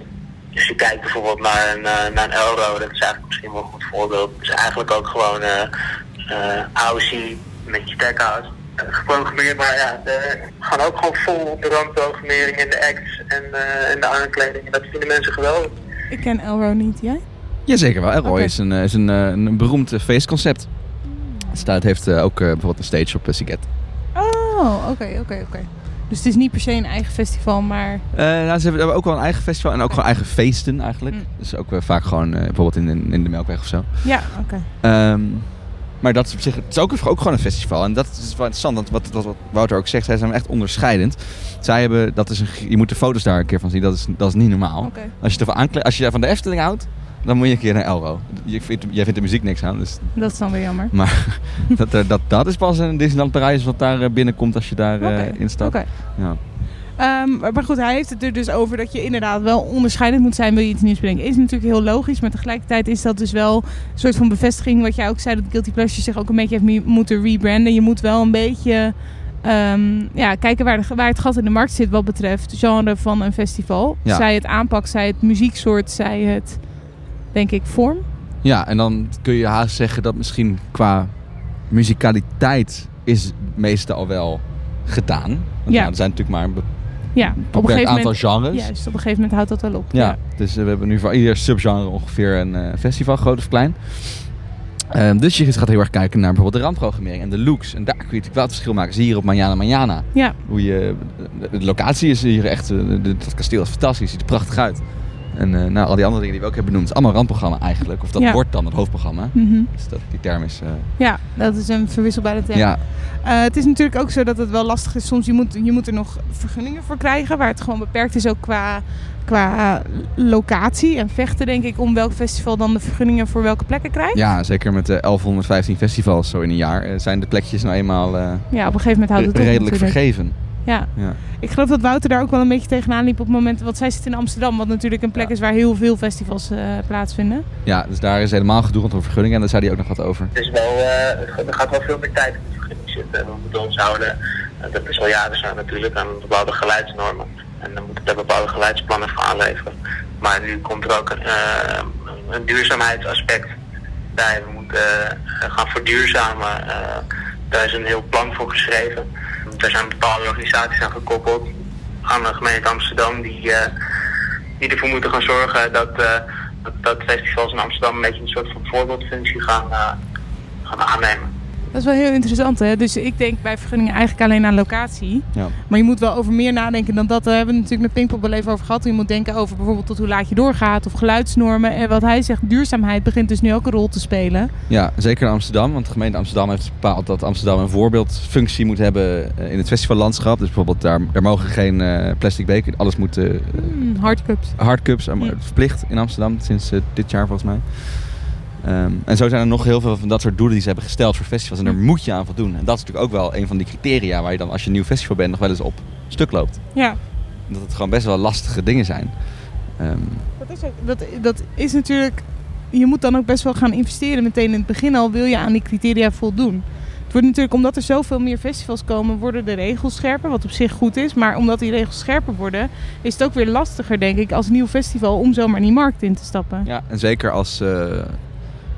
[SPEAKER 12] Dus je kijkt bijvoorbeeld naar een, eh, naar een Elro, dat is eigenlijk misschien wel een goed voorbeeld. Het is eigenlijk ook gewoon eh eh, Aussie met je tech house. geprogrammeerd, maar ja, we gaan ook gewoon vol op de rampprogrammering en de acts en, eh, en de aankleding. En dat vinden mensen geweldig.
[SPEAKER 1] Ik ken Elro niet, jij?
[SPEAKER 2] Jazeker wel. Elroy is, een, eh, is een, eh, een, een beroemd eh, feestconcept. Het staat, heeft eh, ook eh, bijvoorbeeld een stage op eh, Siget.
[SPEAKER 1] Oh, oké, oké, oké. Dus het is niet per se een eigen festival, maar...
[SPEAKER 2] Eh, nou, ze hebben ook wel een eigen festival en ook gewoon eigen feesten eigenlijk. Dus ook eh, vaak gewoon eh, bijvoorbeeld in, in, in de Melkweg of zo.
[SPEAKER 1] Ja, oké.
[SPEAKER 2] Ehm, maar dat is op zich, het is ook, ook gewoon een festival. En dat is wel interessant, want wat, wat, wat Wouter ook zegt, zij zijn echt onderscheidend. Zij hebben, dat is een, g- je moet de foto's daar een keer van zien, dat is, dat is niet normaal.
[SPEAKER 1] Oké.
[SPEAKER 2] Als, je ervan aankle- als je van de Efteling houdt, dan moet je een keer naar Elro. Je vindt, jij vindt de muziek niks aan, dus
[SPEAKER 1] Dat is dan weer jammer.
[SPEAKER 2] maar dat, eh, dat, dat is pas een Disneyland Parijs wat daar eh, binnenkomt als je daar eh,
[SPEAKER 1] Oké,
[SPEAKER 2] instapt.
[SPEAKER 1] oké.
[SPEAKER 2] Ja.
[SPEAKER 1] Ehm, maar maar goed, hij heeft het er dus over dat je inderdaad wel onderscheidend moet zijn, wil je iets nieuws bedenken. Is natuurlijk heel logisch, maar tegelijkertijd is dat dus wel een soort van bevestiging wat jij ook zei, dat Guilty Pleasure zich ook een beetje heeft mie- moeten rebranden. Je moet wel een beetje ehm, ja, kijken waar, de, waar het gat in de markt zit wat betreft genre van een festival.
[SPEAKER 2] Ja.
[SPEAKER 1] Zij het aanpak, zij het muzieksoort, zij het, denk ik, vorm.
[SPEAKER 2] ja, en dan kun je haast zeggen dat misschien qua muzikaliteit is het meeste al wel gedaan. Want
[SPEAKER 1] Ja.
[SPEAKER 2] ja, er zijn natuurlijk maar een be-
[SPEAKER 1] Ja, op een
[SPEAKER 2] Beperkt
[SPEAKER 1] gegeven moment,
[SPEAKER 2] aantal genres.
[SPEAKER 1] Juist, op een gegeven moment houdt dat wel op.
[SPEAKER 2] Ja, dus eh, we hebben nu voor ieder subgenre ongeveer een eh, festival, groot of klein. Ehm, dus je gaat heel erg kijken naar bijvoorbeeld de randprogrammering en de looks. En daar kun je natuurlijk wel het verschil maken. Zie je hier op Manjana Manjana.
[SPEAKER 1] Ja.
[SPEAKER 2] Hoe je, de de locatie is hier echt, eh, de- dat kasteel is fantastisch, ziet er prachtig uit. En eh, nou, al die andere dingen die we ook hebben benoemd, is allemaal randprogramma eigenlijk. Of dat
[SPEAKER 1] Ja.
[SPEAKER 2] wordt dan het hoofdprogramma.
[SPEAKER 1] Mhm.
[SPEAKER 2] Dus dat, die term is... eh,
[SPEAKER 1] Ja, dat is een verwisselbare term.
[SPEAKER 2] Ja.
[SPEAKER 1] Eh, het is natuurlijk ook zo dat het wel lastig is. Soms je moet, je moet er nog vergunningen voor krijgen, waar het gewoon beperkt is ook qua, qua locatie en vechten, denk ik, om welk festival dan de vergunningen voor welke plekken krijgt.
[SPEAKER 2] ja, zeker met de 1115 festivals zo in een jaar eh, zijn de plekjes nou eenmaal eh,
[SPEAKER 1] Ja, op een gegeven moment houdt het
[SPEAKER 2] re-
[SPEAKER 1] op
[SPEAKER 2] redelijk
[SPEAKER 1] natuurlijk.
[SPEAKER 2] vergeven.
[SPEAKER 1] Ja.
[SPEAKER 2] Ja.
[SPEAKER 1] Ik geloof dat Wouter daar ook wel een beetje tegenaan liep op het moment, want zij zit in Amsterdam, wat natuurlijk een plek is waar heel veel festivals eh, plaatsvinden.
[SPEAKER 2] ja, dus daar is helemaal gedoe rondom vergunningen en daar zei hij ook nog wat over.
[SPEAKER 12] Het is wel, eh, er gaat wel veel meer tijd in de vergunning zitten. We moeten ons houden, eh, dat is al jaren zo natuurlijk, aan bepaalde geluidsnormen. En dan moeten we daar bepaalde geluidsplannen voor aanleveren. Maar nu komt er ook een, eh, een duurzaamheidsaspect bij. We moeten eh, gaan verduurzamen. Eh, daar is een heel plan voor geschreven. Daar zijn bepaalde organisaties aan gekoppeld. Aan de gemeente Amsterdam die... eh, die ervoor moeten gaan zorgen dat, eh, dat, dat festivals in Amsterdam een beetje een soort van voorbeeldfunctie gaan, eh, gaan aannemen.
[SPEAKER 1] Dat is wel heel interessant, hè? Dus ik denk bij vergunningen eigenlijk alleen aan locatie.
[SPEAKER 2] Ja.
[SPEAKER 1] Maar je moet wel over meer nadenken dan dat. Daar hebben we natuurlijk met Pinkpop wel even over gehad. Je moet denken over bijvoorbeeld tot hoe laat je doorgaat of geluidsnormen. En wat hij zegt, duurzaamheid begint dus nu ook een rol te spelen.
[SPEAKER 2] Ja, zeker in Amsterdam. Want de gemeente Amsterdam heeft bepaald dat Amsterdam een voorbeeldfunctie moet hebben eh, in het festivallandschap. Dus bijvoorbeeld, daar, er mogen geen eh, plastic beker. Alles moet eh,
[SPEAKER 1] Hmm, hardcups.
[SPEAKER 2] hardcups eh, maar verplicht in Amsterdam sinds eh, dit jaar volgens mij. Ehm, en zo zijn er nog heel veel van dat soort doelen die ze hebben gesteld voor festivals. En daar moet je aan voldoen. En dat is natuurlijk ook wel een van die criteria waar je dan als je een nieuw festival bent nog wel eens op stuk loopt.
[SPEAKER 1] Ja.
[SPEAKER 2] Dat het gewoon best wel lastige dingen zijn. Ehm,
[SPEAKER 1] Dat is, ook, dat, dat is natuurlijk... Je moet dan ook best wel gaan investeren meteen in het begin al. Wil je aan die criteria voldoen? Het wordt natuurlijk, omdat er zoveel meer festivals komen, worden de regels scherper. Wat op zich goed is. Maar omdat die regels scherper worden, is het ook weer lastiger, denk ik, als nieuw festival om zomaar die markt in te stappen.
[SPEAKER 2] Ja, en zeker als. eh,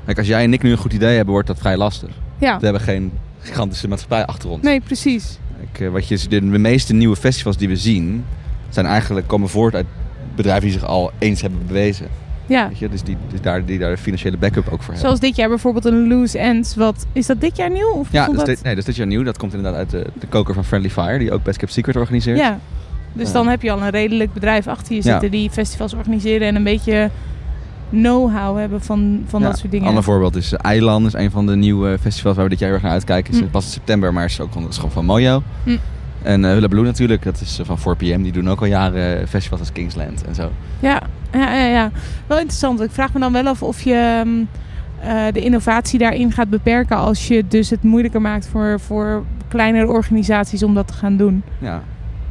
[SPEAKER 2] kijk, als jij en ik nu een goed idee hebben, wordt dat vrij lastig.
[SPEAKER 1] Ja.
[SPEAKER 2] We hebben geen gigantische maatschappij achter ons.
[SPEAKER 1] Nee, precies.
[SPEAKER 2] Kijk, eh, wat je, de, de meeste nieuwe festivals die we zien, zijn eigenlijk komen voort uit bedrijven die zich al eens hebben bewezen.
[SPEAKER 1] Ja.
[SPEAKER 2] Weet je, dus die, dus daar, die daar de financiële backup ook voor
[SPEAKER 1] Zoals dit jaar bijvoorbeeld een Loose Ends. Wat, is dat dit jaar nieuw? Of
[SPEAKER 2] hebben. Ja,
[SPEAKER 1] voelt
[SPEAKER 2] dus
[SPEAKER 1] dat-
[SPEAKER 2] dit, nee, dus dit jaar nieuw. Dat komt inderdaad uit de, de koker van Friendly Fire, die ook Best Kept Secret organiseert.
[SPEAKER 1] ja. Dus
[SPEAKER 2] Ja.
[SPEAKER 1] dan heb je al een redelijk bedrijf achter je
[SPEAKER 2] Ja.
[SPEAKER 1] zitten die festivals organiseren en een beetje know-how hebben van, van
[SPEAKER 2] Ja,
[SPEAKER 1] dat soort dingen.
[SPEAKER 2] Een ander voorbeeld is eh, Eiland, is een van de nieuwe festivals waar we dit jaar heel erg naar uitkijken. Is
[SPEAKER 1] Hm.
[SPEAKER 2] pas in september, maar is ook onder de schop van Mojo.
[SPEAKER 1] Hm.
[SPEAKER 2] En eh Hullabaloo natuurlijk, dat is eh, van 4PM. Die doen ook al jaren eh, festivals als Kingsland en zo.
[SPEAKER 1] Ja, ja, ja, ja. Wel interessant. Ik vraag me dan wel af of je ehm, eh, de innovatie daarin gaat beperken als je dus het moeilijker maakt voor, voor kleinere organisaties om dat te gaan doen.
[SPEAKER 2] Ja,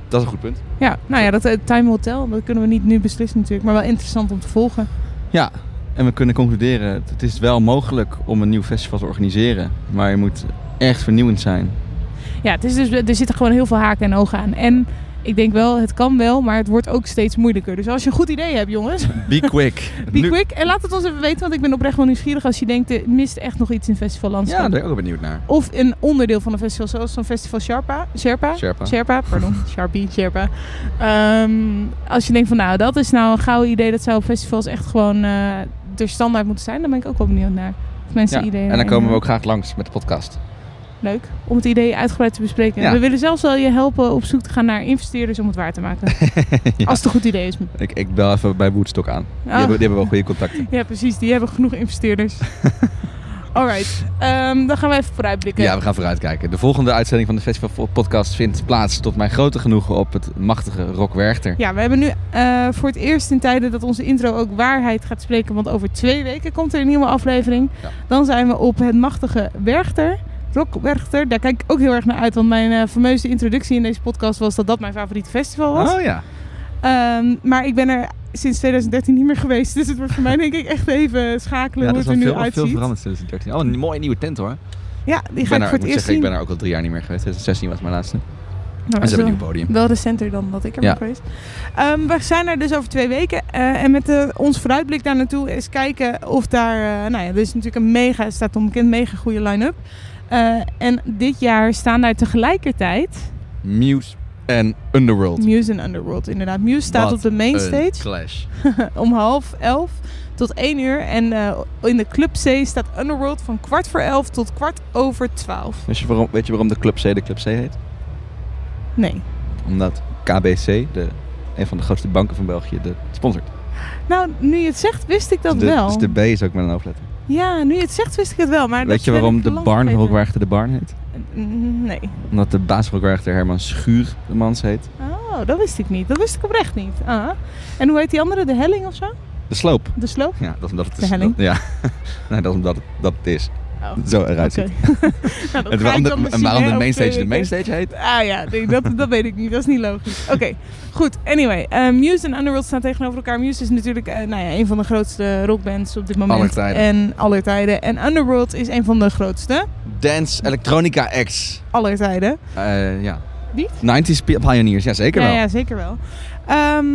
[SPEAKER 2] dat is een goed punt.
[SPEAKER 1] Ja, nou ja, dat eh, Time will tell. Dat kunnen we niet nu beslissen natuurlijk, maar wel interessant om te volgen.
[SPEAKER 2] Ja, en we kunnen concluderen, het- het is wel mogelijk om een nieuw festival te organiseren. Maar je moet echt vernieuwend zijn.
[SPEAKER 1] Ja, het is dus, er zitten gewoon heel veel haken en ogen aan. En ik denk wel, het kan wel, maar het wordt ook steeds moeilijker. Dus als je een goed idee hebt, jongens,
[SPEAKER 2] Be quick.
[SPEAKER 1] be
[SPEAKER 2] Nu-
[SPEAKER 1] quick. En laat het ons even weten, want ik ben oprecht wel nieuwsgierig als je denkt, er mist echt nog iets in festivallandschap.
[SPEAKER 2] Ja, daar ben ik ook benieuwd naar.
[SPEAKER 1] Of een onderdeel van een festival, zoals zo'n festival Sherpa. Sherpa?
[SPEAKER 2] Sherpa.
[SPEAKER 1] pardon. Sharpie, Sherpa. Ehm, als je denkt van, nou, dat is nou een gouden idee, dat zou op festivals echt gewoon eh, er standaard moeten zijn, dan ben ik ook wel benieuwd naar. Of mensen
[SPEAKER 2] Ja,
[SPEAKER 1] ideeën
[SPEAKER 2] En dan
[SPEAKER 1] hebben.
[SPEAKER 2] komen we ook graag langs met de podcast.
[SPEAKER 1] Leuk, om het idee uitgebreid te bespreken.
[SPEAKER 2] Ja.
[SPEAKER 1] We willen zelfs wel je helpen op zoek te gaan naar investeerders om het waar te maken.
[SPEAKER 2] Ja.
[SPEAKER 1] Als het een goed idee is.
[SPEAKER 2] Ik, ik bel even bij Woodstock aan. Die,
[SPEAKER 1] Oh.
[SPEAKER 2] hebben, die hebben wel goede contacten.
[SPEAKER 1] Ja, precies. Die hebben genoeg investeerders. Alright, Ehm, dan gaan we even vooruitblikken.
[SPEAKER 2] Ja, we gaan vooruitkijken. De volgende uitzending van de Festival Podcast vindt plaats tot mijn grote genoegen op het machtige Rock Werchter.
[SPEAKER 1] Ja, we hebben nu eh, voor het eerst in tijden dat onze intro ook waarheid gaat spreken. Want over twee weken komt er een nieuwe aflevering. Dan zijn we op het machtige Werchter. Rock Werchter. Daar kijk ik ook heel erg naar uit. Want mijn eh, fameuze introductie in deze podcast was dat dat mijn favoriete festival was.
[SPEAKER 2] Oh ja.
[SPEAKER 1] Ehm, maar ik ben er sinds 2013 niet meer geweest. Dus het wordt voor mij denk ik echt even schakelen
[SPEAKER 2] Ja,
[SPEAKER 1] hoe
[SPEAKER 2] dat
[SPEAKER 1] het
[SPEAKER 2] is wel
[SPEAKER 1] er nu
[SPEAKER 2] veel,
[SPEAKER 1] uitziet.
[SPEAKER 2] veel veranderd sinds 2013. Oh, een mooie nieuwe tent hoor.
[SPEAKER 1] Ja, die
[SPEAKER 2] Ik
[SPEAKER 1] ga
[SPEAKER 2] ben
[SPEAKER 1] ik
[SPEAKER 2] er-
[SPEAKER 1] voor
[SPEAKER 2] moet
[SPEAKER 1] het eerst
[SPEAKER 2] zeggen,
[SPEAKER 1] zien.
[SPEAKER 2] Ik ben er ook al drie jaar niet meer geweest. 2016 was mijn laatste.
[SPEAKER 1] Nou, dat
[SPEAKER 2] en ze
[SPEAKER 1] is
[SPEAKER 2] hebben een nieuw
[SPEAKER 1] wel-
[SPEAKER 2] podium.
[SPEAKER 1] Wel recenter dan dat ik er ben
[SPEAKER 2] Ja.
[SPEAKER 1] geweest. Ehm, we zijn er dus over twee weken. eh, en met eh, ons vooruitblik daar naartoe is kijken of daar... eh, nou ja, er is natuurlijk een mega, staat onbekend, mega goede line-up. Eh, en dit jaar staan daar tegelijkertijd
[SPEAKER 2] Muse en Underworld.
[SPEAKER 1] Muse en Underworld. Inderdaad, Muse staat
[SPEAKER 2] Wat
[SPEAKER 1] op de main
[SPEAKER 2] een
[SPEAKER 1] stage.
[SPEAKER 2] clash.
[SPEAKER 1] om half elf tot één uur. En eh, in de Club C staat Underworld van kwart voor elf tot kwart over twaalf.
[SPEAKER 2] Weet je, waarom, weet je waarom de Club C de Club C heet?
[SPEAKER 1] Nee.
[SPEAKER 2] Omdat KBC, de, een van de grootste banken van België, de sponsort.
[SPEAKER 1] Nou, nu je het zegt, wist ik dat
[SPEAKER 2] de,
[SPEAKER 1] wel.
[SPEAKER 2] Dus de B is ook met een hoofdletter.
[SPEAKER 1] Ja, nu je het zegt, wist ik het wel. Maar
[SPEAKER 2] Weet
[SPEAKER 1] dat
[SPEAKER 2] je
[SPEAKER 1] ben
[SPEAKER 2] waarom
[SPEAKER 1] ik
[SPEAKER 2] de
[SPEAKER 1] lang
[SPEAKER 2] barn
[SPEAKER 1] vergeten. Mm,
[SPEAKER 2] Rockwerchter de barn heet?
[SPEAKER 1] Nee.
[SPEAKER 2] Omdat de baas Rockwerchter Herman Schuur de mans heet.
[SPEAKER 1] Oh, dat wist ik niet. Dat wist ik oprecht niet. Ah. En hoe heet die andere? De helling of zo?
[SPEAKER 2] De sloop.
[SPEAKER 1] De sloop?
[SPEAKER 2] Ja, dat is omdat het
[SPEAKER 1] De
[SPEAKER 2] is.
[SPEAKER 1] helling?
[SPEAKER 2] dat- ja, nee, dat is omdat het, dat het is.
[SPEAKER 1] Oh.
[SPEAKER 2] Zo eruit
[SPEAKER 1] Oké.
[SPEAKER 2] ziet.
[SPEAKER 1] nou, dat
[SPEAKER 2] En
[SPEAKER 1] ga
[SPEAKER 2] waarom
[SPEAKER 1] ik
[SPEAKER 2] de-
[SPEAKER 1] dan
[SPEAKER 2] en
[SPEAKER 1] misschien,
[SPEAKER 2] waarom
[SPEAKER 1] hè, eh, over
[SPEAKER 2] de
[SPEAKER 1] twee
[SPEAKER 2] main stage de main
[SPEAKER 1] weken.
[SPEAKER 2] stage heet?
[SPEAKER 1] Ah ja, nee, dat, dat weet ik niet. Dat is niet logisch. Oké, goed. Anyway, eh, Muse en Underworld staan tegenover elkaar. Muse is natuurlijk eh, nou ja, een van de grootste rockbands op dit moment.
[SPEAKER 2] Aller tijden.
[SPEAKER 1] En aller tijden. En Underworld is een van de grootste
[SPEAKER 2] Dance Electronica X.
[SPEAKER 1] aller tijden.
[SPEAKER 2] Eh, ja.
[SPEAKER 1] Niet?
[SPEAKER 2] 90s pi- pioneers, ja zeker
[SPEAKER 1] ja,
[SPEAKER 2] wel.
[SPEAKER 1] Ja, zeker wel. Ehm,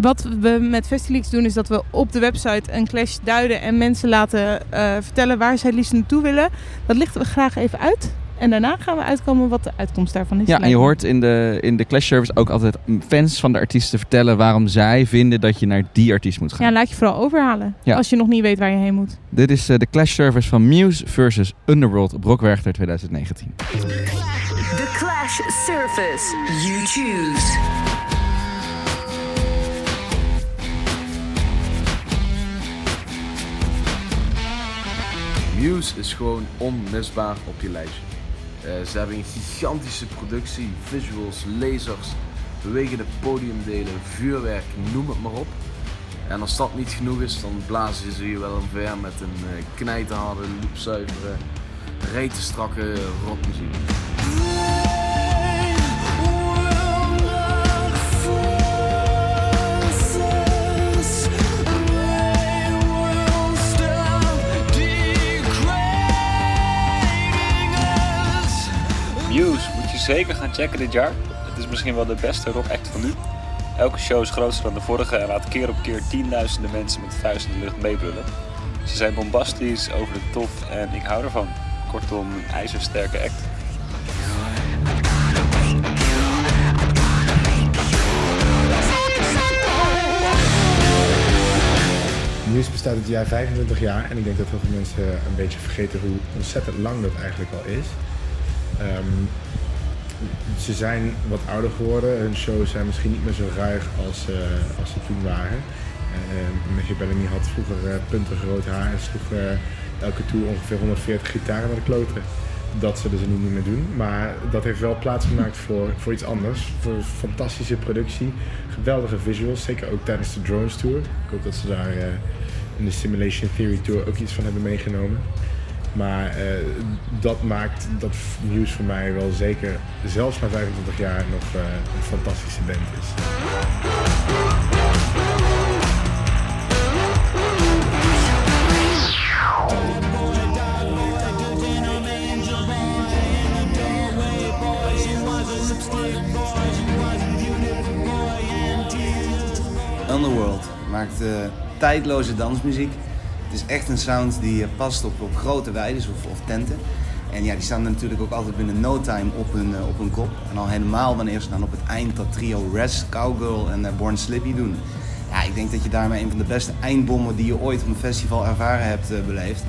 [SPEAKER 1] wat we met Festileaks doen is dat we op de website een clash duiden en mensen laten eh, vertellen waar zij het liefst naartoe willen. Dat lichten we graag even uit. En daarna gaan we uitkomen wat de uitkomst daarvan is.
[SPEAKER 2] Ja, en je
[SPEAKER 1] Lijkt me.
[SPEAKER 2] hoort in de, in de Clash Service ook altijd fans van de artiesten vertellen waarom zij vinden dat je naar die artiest moet gaan.
[SPEAKER 1] Ja, laat je vooral overhalen.
[SPEAKER 2] Ja.
[SPEAKER 1] Als je nog niet weet waar je heen moet.
[SPEAKER 2] Dit is eh, de Clash Service van Muse versus Underworld op Rockwerchter 2019.
[SPEAKER 3] The Clash Surface. You choose.
[SPEAKER 13] Muse is gewoon onmisbaar op je lijstje. Eh, ze hebben een gigantische productie, visuals, lasers, bewegende podiumdelen, vuurwerk, noem het maar op. En als dat niet genoeg is, dan blazen ze je wel omver met een eh, knijterharde, loopzuivere, retenstrakke rockmuziek.
[SPEAKER 14] Muse moet je zeker gaan checken dit jaar. Het is misschien wel de beste rockact van nu. Elke show is groter dan de vorige en laat keer op keer tienduizenden mensen met vuisten in de lucht meebrullen. Ze zijn bombastisch, over de top en ik hou ervan. Kortom, een ijzersterke act.
[SPEAKER 15] Nieuws bestaat het jaar 25 jaar en ik denk dat heel veel mensen een beetje vergeten hoe ontzettend lang dat eigenlijk al is. Ehm, ze zijn wat ouder geworden, hun shows zijn misschien niet meer zo ruig als, eh, als ze toen waren. Uh, Matthew Bellamy had vroeger eh, puntig rood haar en sloeg eh, elke tour ongeveer 140 gitaren naar de kloten. Dat zullen ze nu niet meer doen, maar dat heeft wel plaatsgemaakt voor, voor iets anders. Voor een fantastische productie, geweldige visuals, zeker ook tijdens de Drones Tour. Ik hoop dat ze daar eh, in de Simulation Theory Tour ook iets van hebben meegenomen. Maar eh, dat maakt dat Muse voor mij wel zeker, zelfs na 25 jaar, nog eh, een fantastische band is.
[SPEAKER 16] Boys, you was a lipstick boys, you was Underworld maakt eh, tijdloze dansmuziek. Het is echt een sound die eh, past op, op grote weides of, of tenten. En ja, die staan er natuurlijk ook altijd binnen no time op hun, eh, op hun kop. En al helemaal wanneer ze dan op het eind dat trio Res, Cowgirl en eh, Born Slippy doen. Ja, ik denk dat je daarmee een van de beste eindbommen die je ooit op een festival ervaren hebt eh, beleefd.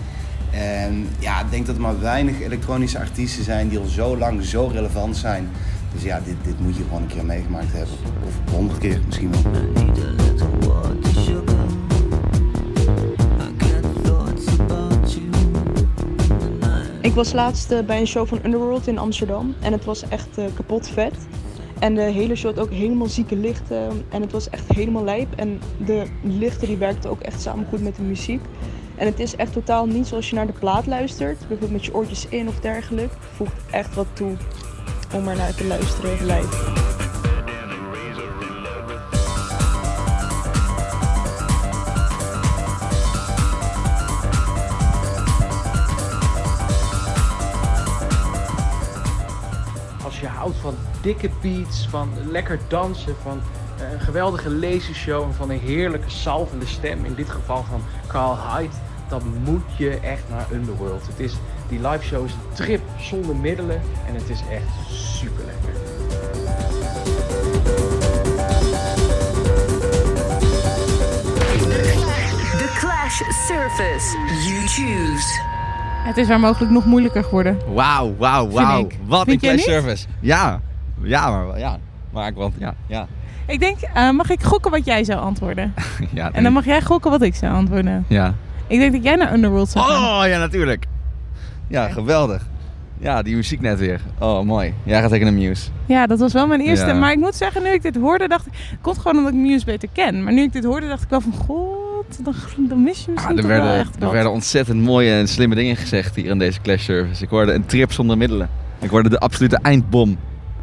[SPEAKER 16] En ja, ik denk dat er maar weinig elektronische artiesten zijn die al zo lang zo relevant zijn. Dus ja, dit, dit moet je gewoon een keer meegemaakt hebben. Of honderd keer misschien wel.
[SPEAKER 17] Ik was laatst eh, bij een show van Underworld in Amsterdam en het was echt eh, kapot vet. En de hele show had ook helemaal zieke lichten en het was echt helemaal lijp. En de lichten die werkten ook echt samen goed met de muziek. En het is echt totaal niet zoals je naar de plaat luistert, bijvoorbeeld met je oortjes in of dergelijk. Het voegt echt wat toe om er naar te luisteren live.
[SPEAKER 18] Als je houdt van dikke beats, van lekker dansen, van eh, een geweldige lasershow en van een heerlijke salvende stem, in dit geval van Carl Hyde, dan moet je echt naar Underworld. Het is, die live show is een trip zonder middelen en het is echt super lekker.
[SPEAKER 3] The Clash Surface. You choose.
[SPEAKER 1] Het is waar mogelijk nog moeilijker geworden.
[SPEAKER 2] Wauw, wauw,
[SPEAKER 1] Vind
[SPEAKER 2] wauw.
[SPEAKER 1] ik.
[SPEAKER 2] Wat
[SPEAKER 1] Vind
[SPEAKER 2] een
[SPEAKER 1] jij
[SPEAKER 2] clash
[SPEAKER 1] niet?
[SPEAKER 2] service. Ja, ja, maar wel- ja. Maar ik want, ja, ja.
[SPEAKER 1] Ik denk, eh, mag ik gokken wat jij zou antwoorden?
[SPEAKER 2] ja
[SPEAKER 1] En dan mag jij gokken wat ik zou antwoorden.
[SPEAKER 2] Ja.
[SPEAKER 1] Ik denk dat jij naar Underworld zou gaan.
[SPEAKER 2] Oh, ja, natuurlijk. Ja, geweldig. Ja, die muziek net weer. Oh, mooi. Jij gaat tegen de Muse.
[SPEAKER 1] Ja, dat was wel mijn eerste.
[SPEAKER 2] Ja.
[SPEAKER 1] Maar ik moet zeggen, nu ik dit hoorde, dacht ik... Het komt gewoon omdat ik Muse beter ken. Maar nu ik dit hoorde, dacht ik wel van... God, dan, dan mis je misschien
[SPEAKER 2] Ah, er,
[SPEAKER 1] toch
[SPEAKER 2] werden,
[SPEAKER 1] wel echt
[SPEAKER 2] er
[SPEAKER 1] wat.
[SPEAKER 2] werden ontzettend mooie en slimme dingen gezegd hier in deze Clash Service. Ik hoorde een trip zonder middelen. Ik hoorde de absolute eindbom.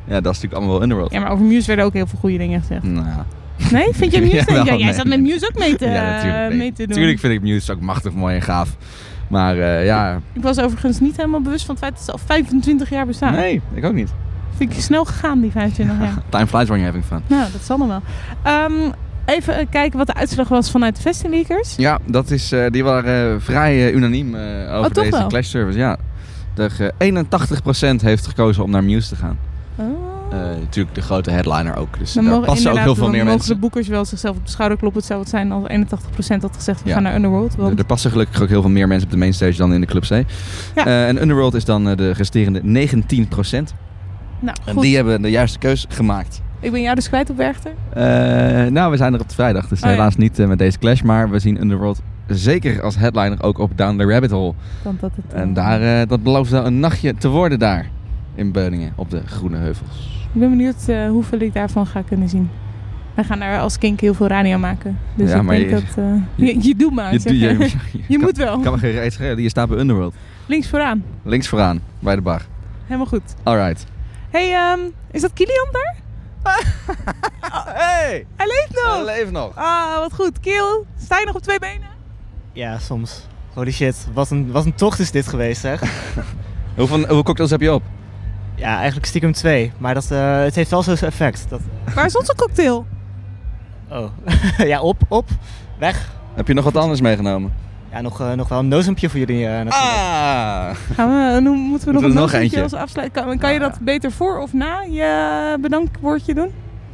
[SPEAKER 2] Ja, dat is natuurlijk allemaal wel Underworld.
[SPEAKER 1] Ja, maar over Muse werden ook heel veel goede dingen gezegd.
[SPEAKER 2] Nou ja.
[SPEAKER 1] Nee? Vind je Muse?
[SPEAKER 2] Jawel,
[SPEAKER 1] ja, jij
[SPEAKER 2] nee.
[SPEAKER 1] zat met Muse ook mee te,
[SPEAKER 2] Ja, natuurlijk. nee.
[SPEAKER 1] mee te doen.
[SPEAKER 2] Tuurlijk vind ik Muse ook machtig mooi en gaaf. Maar eh, ja,
[SPEAKER 1] Ik was overigens niet helemaal bewust van het feit dat ze al 25 jaar bestaan.
[SPEAKER 2] nee, ik ook niet.
[SPEAKER 1] Vind ik snel gegaan, die 25 jaar.
[SPEAKER 2] Time flies when you're having fun.
[SPEAKER 1] Nou, dat zal dan wel. Ehm, even eh, kijken wat de uitslag was vanuit de Festileakers.
[SPEAKER 2] Ja, dat is, eh, die waren eh, vrij eh, unaniem eh, over
[SPEAKER 1] Oh, toch
[SPEAKER 2] deze
[SPEAKER 1] wel?
[SPEAKER 2] Clash Service. Ja. De, eh 81% heeft gekozen om naar Muse te gaan.
[SPEAKER 1] Oh.
[SPEAKER 2] Eh, natuurlijk de grote headliner ook. Dus daar passen ook heel veel meer
[SPEAKER 1] mogen de
[SPEAKER 2] mensen.
[SPEAKER 1] boekers wel zichzelf op de schouder kloppen. Het zou wat zijn als 81% had gezegd, we
[SPEAKER 2] Ja.
[SPEAKER 1] gaan naar Underworld. Want
[SPEAKER 2] Er- Er passen gelukkig ook heel veel meer mensen op de mainstage dan in de Club C. Eh, en Underworld is dan eh, de resterende 19%.
[SPEAKER 1] nou,
[SPEAKER 2] En
[SPEAKER 1] goed.
[SPEAKER 2] die hebben de juiste keus gemaakt.
[SPEAKER 1] Ik ben jou dus kwijt op Werchter.
[SPEAKER 2] Eh, nou, we zijn er op de vrijdag, dus
[SPEAKER 1] Oh ja.
[SPEAKER 2] helaas niet eh, met deze clash. Maar we zien Underworld zeker als headliner ook op Down the Rabbit Hole.
[SPEAKER 1] Want dat het,
[SPEAKER 2] En daar, eh, dat belooft wel een nachtje te worden daar in Beuningen op de Groene Heuvels.
[SPEAKER 1] Ik ben benieuwd eh, hoeveel ik daarvan ga kunnen zien. Wij gaan daar als kink heel veel radio maken. Dus
[SPEAKER 2] Ja,
[SPEAKER 1] ik
[SPEAKER 2] maar
[SPEAKER 1] denk
[SPEAKER 2] je-
[SPEAKER 1] dat... eh, je, je doet maar,
[SPEAKER 2] Je
[SPEAKER 1] zeg
[SPEAKER 2] doet-
[SPEAKER 1] maar.
[SPEAKER 2] je-
[SPEAKER 1] Je moet wel.
[SPEAKER 2] Kan me geen reet schelen, je staat bij Underworld.
[SPEAKER 1] Links vooraan.
[SPEAKER 2] Links vooraan, bij de bar.
[SPEAKER 1] Helemaal goed.
[SPEAKER 2] Alright.
[SPEAKER 1] hey, ehm, is dat Kilian daar?
[SPEAKER 2] hey!
[SPEAKER 1] Hij leeft nog!
[SPEAKER 2] Hij leeft nog.
[SPEAKER 1] Ah, wat goed. Kiel, sta je nog op twee benen?
[SPEAKER 5] Ja, soms. Holy shit, wat een, wat een tocht is dit geweest, zeg.
[SPEAKER 2] hoeveel, hoeveel cocktails heb je op?
[SPEAKER 5] Ja, eigenlijk stiekem twee. Maar dat, eh, het heeft wel zo'n effect. Dat...
[SPEAKER 1] Waar is onze cocktail?
[SPEAKER 5] Oh. ja, op, op, weg.
[SPEAKER 2] Heb je nog wat anders meegenomen?
[SPEAKER 5] Ja, nog, eh, nog wel een nozampje voor jullie eh
[SPEAKER 2] natuurlijk. Ah!
[SPEAKER 1] Gaan we, dan moeten we nog
[SPEAKER 5] Moeten
[SPEAKER 1] een
[SPEAKER 5] we nog
[SPEAKER 1] nootje
[SPEAKER 5] eentje?
[SPEAKER 1] als afsluit. Kan, kan je dat beter voor of na je eh, bedankwoordje doen?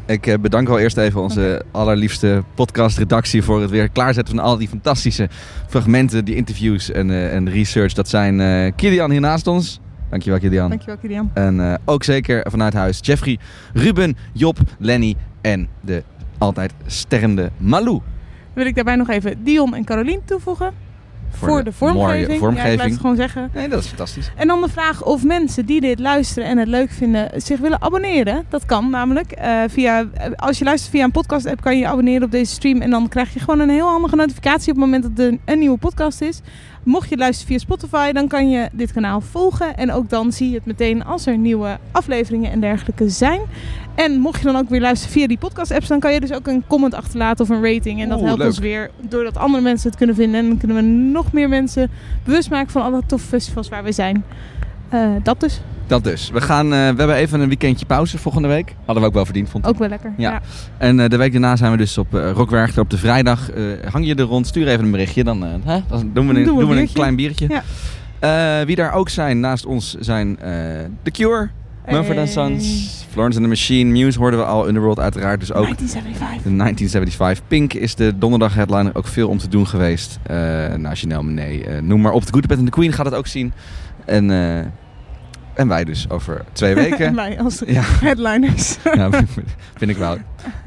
[SPEAKER 2] Ik eh, bedank al eerst even onze allerliefste podcastredactie voor het weer klaarzetten van al die fantastische fragmenten, die interviews en, eh, en research. Dat zijn eh Kilian hier naast ons. Dankjewel Kilian.
[SPEAKER 1] Dankjewel, Kilian.
[SPEAKER 2] En eh, ook zeker vanuit huis Jeffrey, Ruben, Job, Lenny en de altijd sterrende Malou.
[SPEAKER 1] Wil ik daarbij nog even Dion en Carolien toevoegen. Voor, de,
[SPEAKER 2] de
[SPEAKER 1] vormgeving.
[SPEAKER 2] mooie
[SPEAKER 1] Ja, ik blijf
[SPEAKER 2] vormgeving.
[SPEAKER 1] het gewoon zeggen.
[SPEAKER 2] Nee, dat is fantastisch.
[SPEAKER 1] En dan de vraag of mensen die dit luisteren en het leuk vinden zich willen abonneren. Dat kan namelijk. eh, via, eh, als je luistert via een podcast app kan je je abonneren op deze stream. En dan krijg je gewoon een heel handige notificatie op het moment dat er een nieuwe podcast is. Mocht je luisteren via Spotify, dan kan je dit kanaal volgen. En ook dan zie je het meteen als er nieuwe afleveringen en dergelijke zijn. En mocht je dan ook weer luisteren via die podcast apps, dan kan je dus ook een comment achterlaten of een rating. En dat
[SPEAKER 2] Oeh,
[SPEAKER 1] helpt
[SPEAKER 2] leuk.
[SPEAKER 1] ons weer doordat andere mensen het kunnen vinden. En dan kunnen we nog meer mensen bewust maken van alle toffe festivals waar we zijn. Eh, dat dus.
[SPEAKER 2] Dat dus. We, gaan, eh, we hebben even een weekendje pauze volgende week. Hadden we ook wel verdiend, vond ik.
[SPEAKER 1] Ook wel lekker, ja.
[SPEAKER 2] En eh, de week daarna zijn we dus op eh Rockwerchter op de vrijdag. Eh, hang je er rond, stuur even een berichtje. Dan, eh, hè? dan doen we een,
[SPEAKER 1] Doen we
[SPEAKER 2] doen we een
[SPEAKER 1] biertje.
[SPEAKER 2] klein biertje.
[SPEAKER 1] Ja.
[SPEAKER 2] Eh, wie daar ook zijn naast ons zijn eh, The Cure, Mumford
[SPEAKER 1] Hey.
[SPEAKER 2] Sons, Florence and the Machine, Muse hoorden we al, Underworld uiteraard dus ook.
[SPEAKER 1] 1975.
[SPEAKER 2] De 1975. Pink is de donderdag headliner ook veel om te doen geweest. Eh Nationaal nee, eh, noem maar op. The Good, The Bad and The Queen gaat het ook zien. En, eh, en wij dus over twee weken.
[SPEAKER 1] Wij als
[SPEAKER 2] Ja.
[SPEAKER 1] headliners.
[SPEAKER 2] ja, vind ik wel.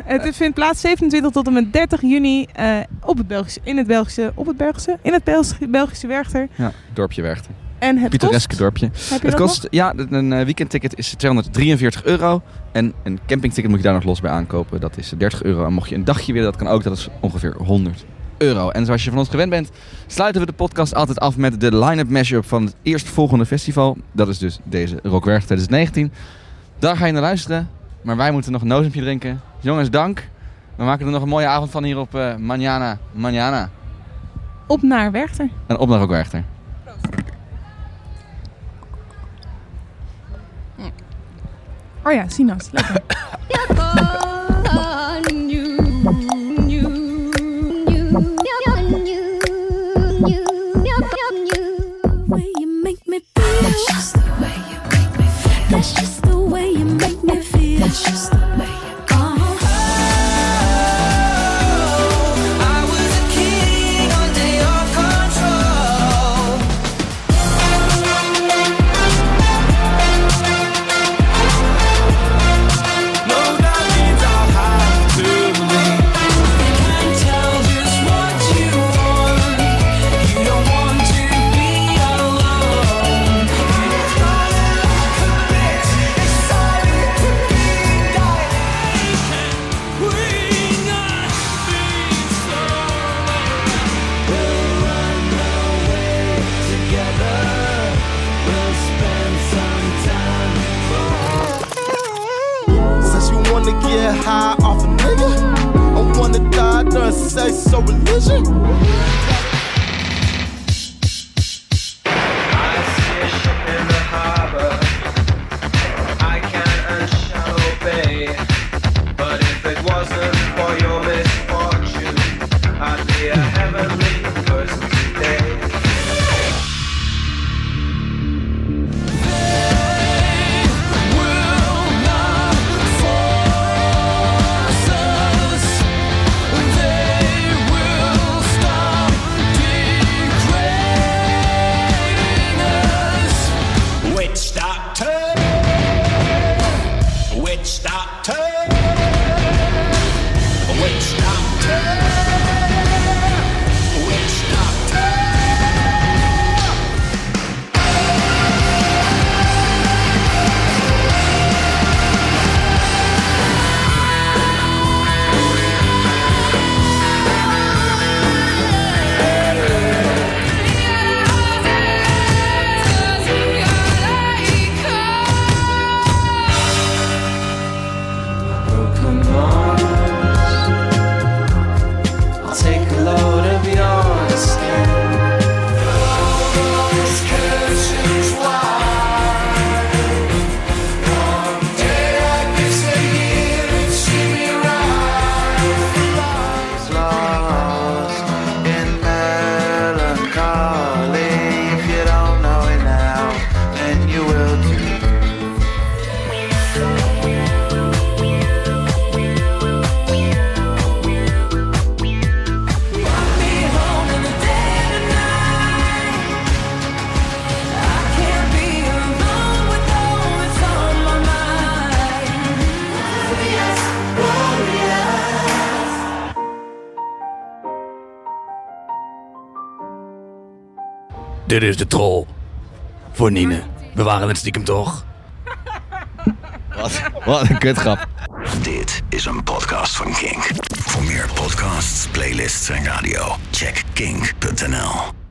[SPEAKER 1] Het vindt plaats 27 tot en met 30 juni eh, op het Belgische, in het Belgische, op het Belgische, in het Belgische, Belgische Werchter.
[SPEAKER 2] Ja, dorpje Werchter.
[SPEAKER 1] En het
[SPEAKER 2] Pittoreske
[SPEAKER 1] kost?
[SPEAKER 2] dorpje.
[SPEAKER 1] Heb je
[SPEAKER 2] het
[SPEAKER 1] dat
[SPEAKER 2] kost, ja, een eh, weekendticket is 243 euro. En een campingticket moet je daar nog los bij aankopen. Dat is 30 euro. En mocht je een dagje willen, dat kan ook. Dat is ongeveer 100 euro. En zoals je van ons gewend bent, sluiten we de podcast altijd af met de line-up mashup van het eerstvolgende festival. Dat is dus deze Rock Werchter 2019. Daar ga je naar luisteren. Maar wij moeten nog een nozempje drinken. Jongens, dank. We maken er nog een mooie avond van hier op eh Manana. Manana.
[SPEAKER 1] Op naar Werchter.
[SPEAKER 2] En op naar Rock Werchter.
[SPEAKER 1] Oh ja, Sinas. Lekker.
[SPEAKER 6] way you make me feel. That's just the way you make me feel. That's just the way you make me feel. That's just the way you
[SPEAKER 12] I was a king under your control. No, that means I'll have to leave. You can't tell just what you want. You don't want to be alone. Excited to be dying. We
[SPEAKER 19] Since you wanna get high off a nigga, I wanna die during sex or religion.
[SPEAKER 12] obey. But if it wasn't for your misfortune, I'd be a heavenly person today.
[SPEAKER 18] Witch doctor, witch doctor, witch doctor, witch doctor.
[SPEAKER 12] Brooklyn I'll take a load of your skin. Lost in melancholy. If you don't know it now, then you will too.
[SPEAKER 3] Dit is de troll. Voor Nine. We waren het stiekem toch?
[SPEAKER 2] Wat, wat een kutgrap.
[SPEAKER 20] Dit is een podcast van Kink. Voor meer podcasts, playlists en radio, check kink.nl.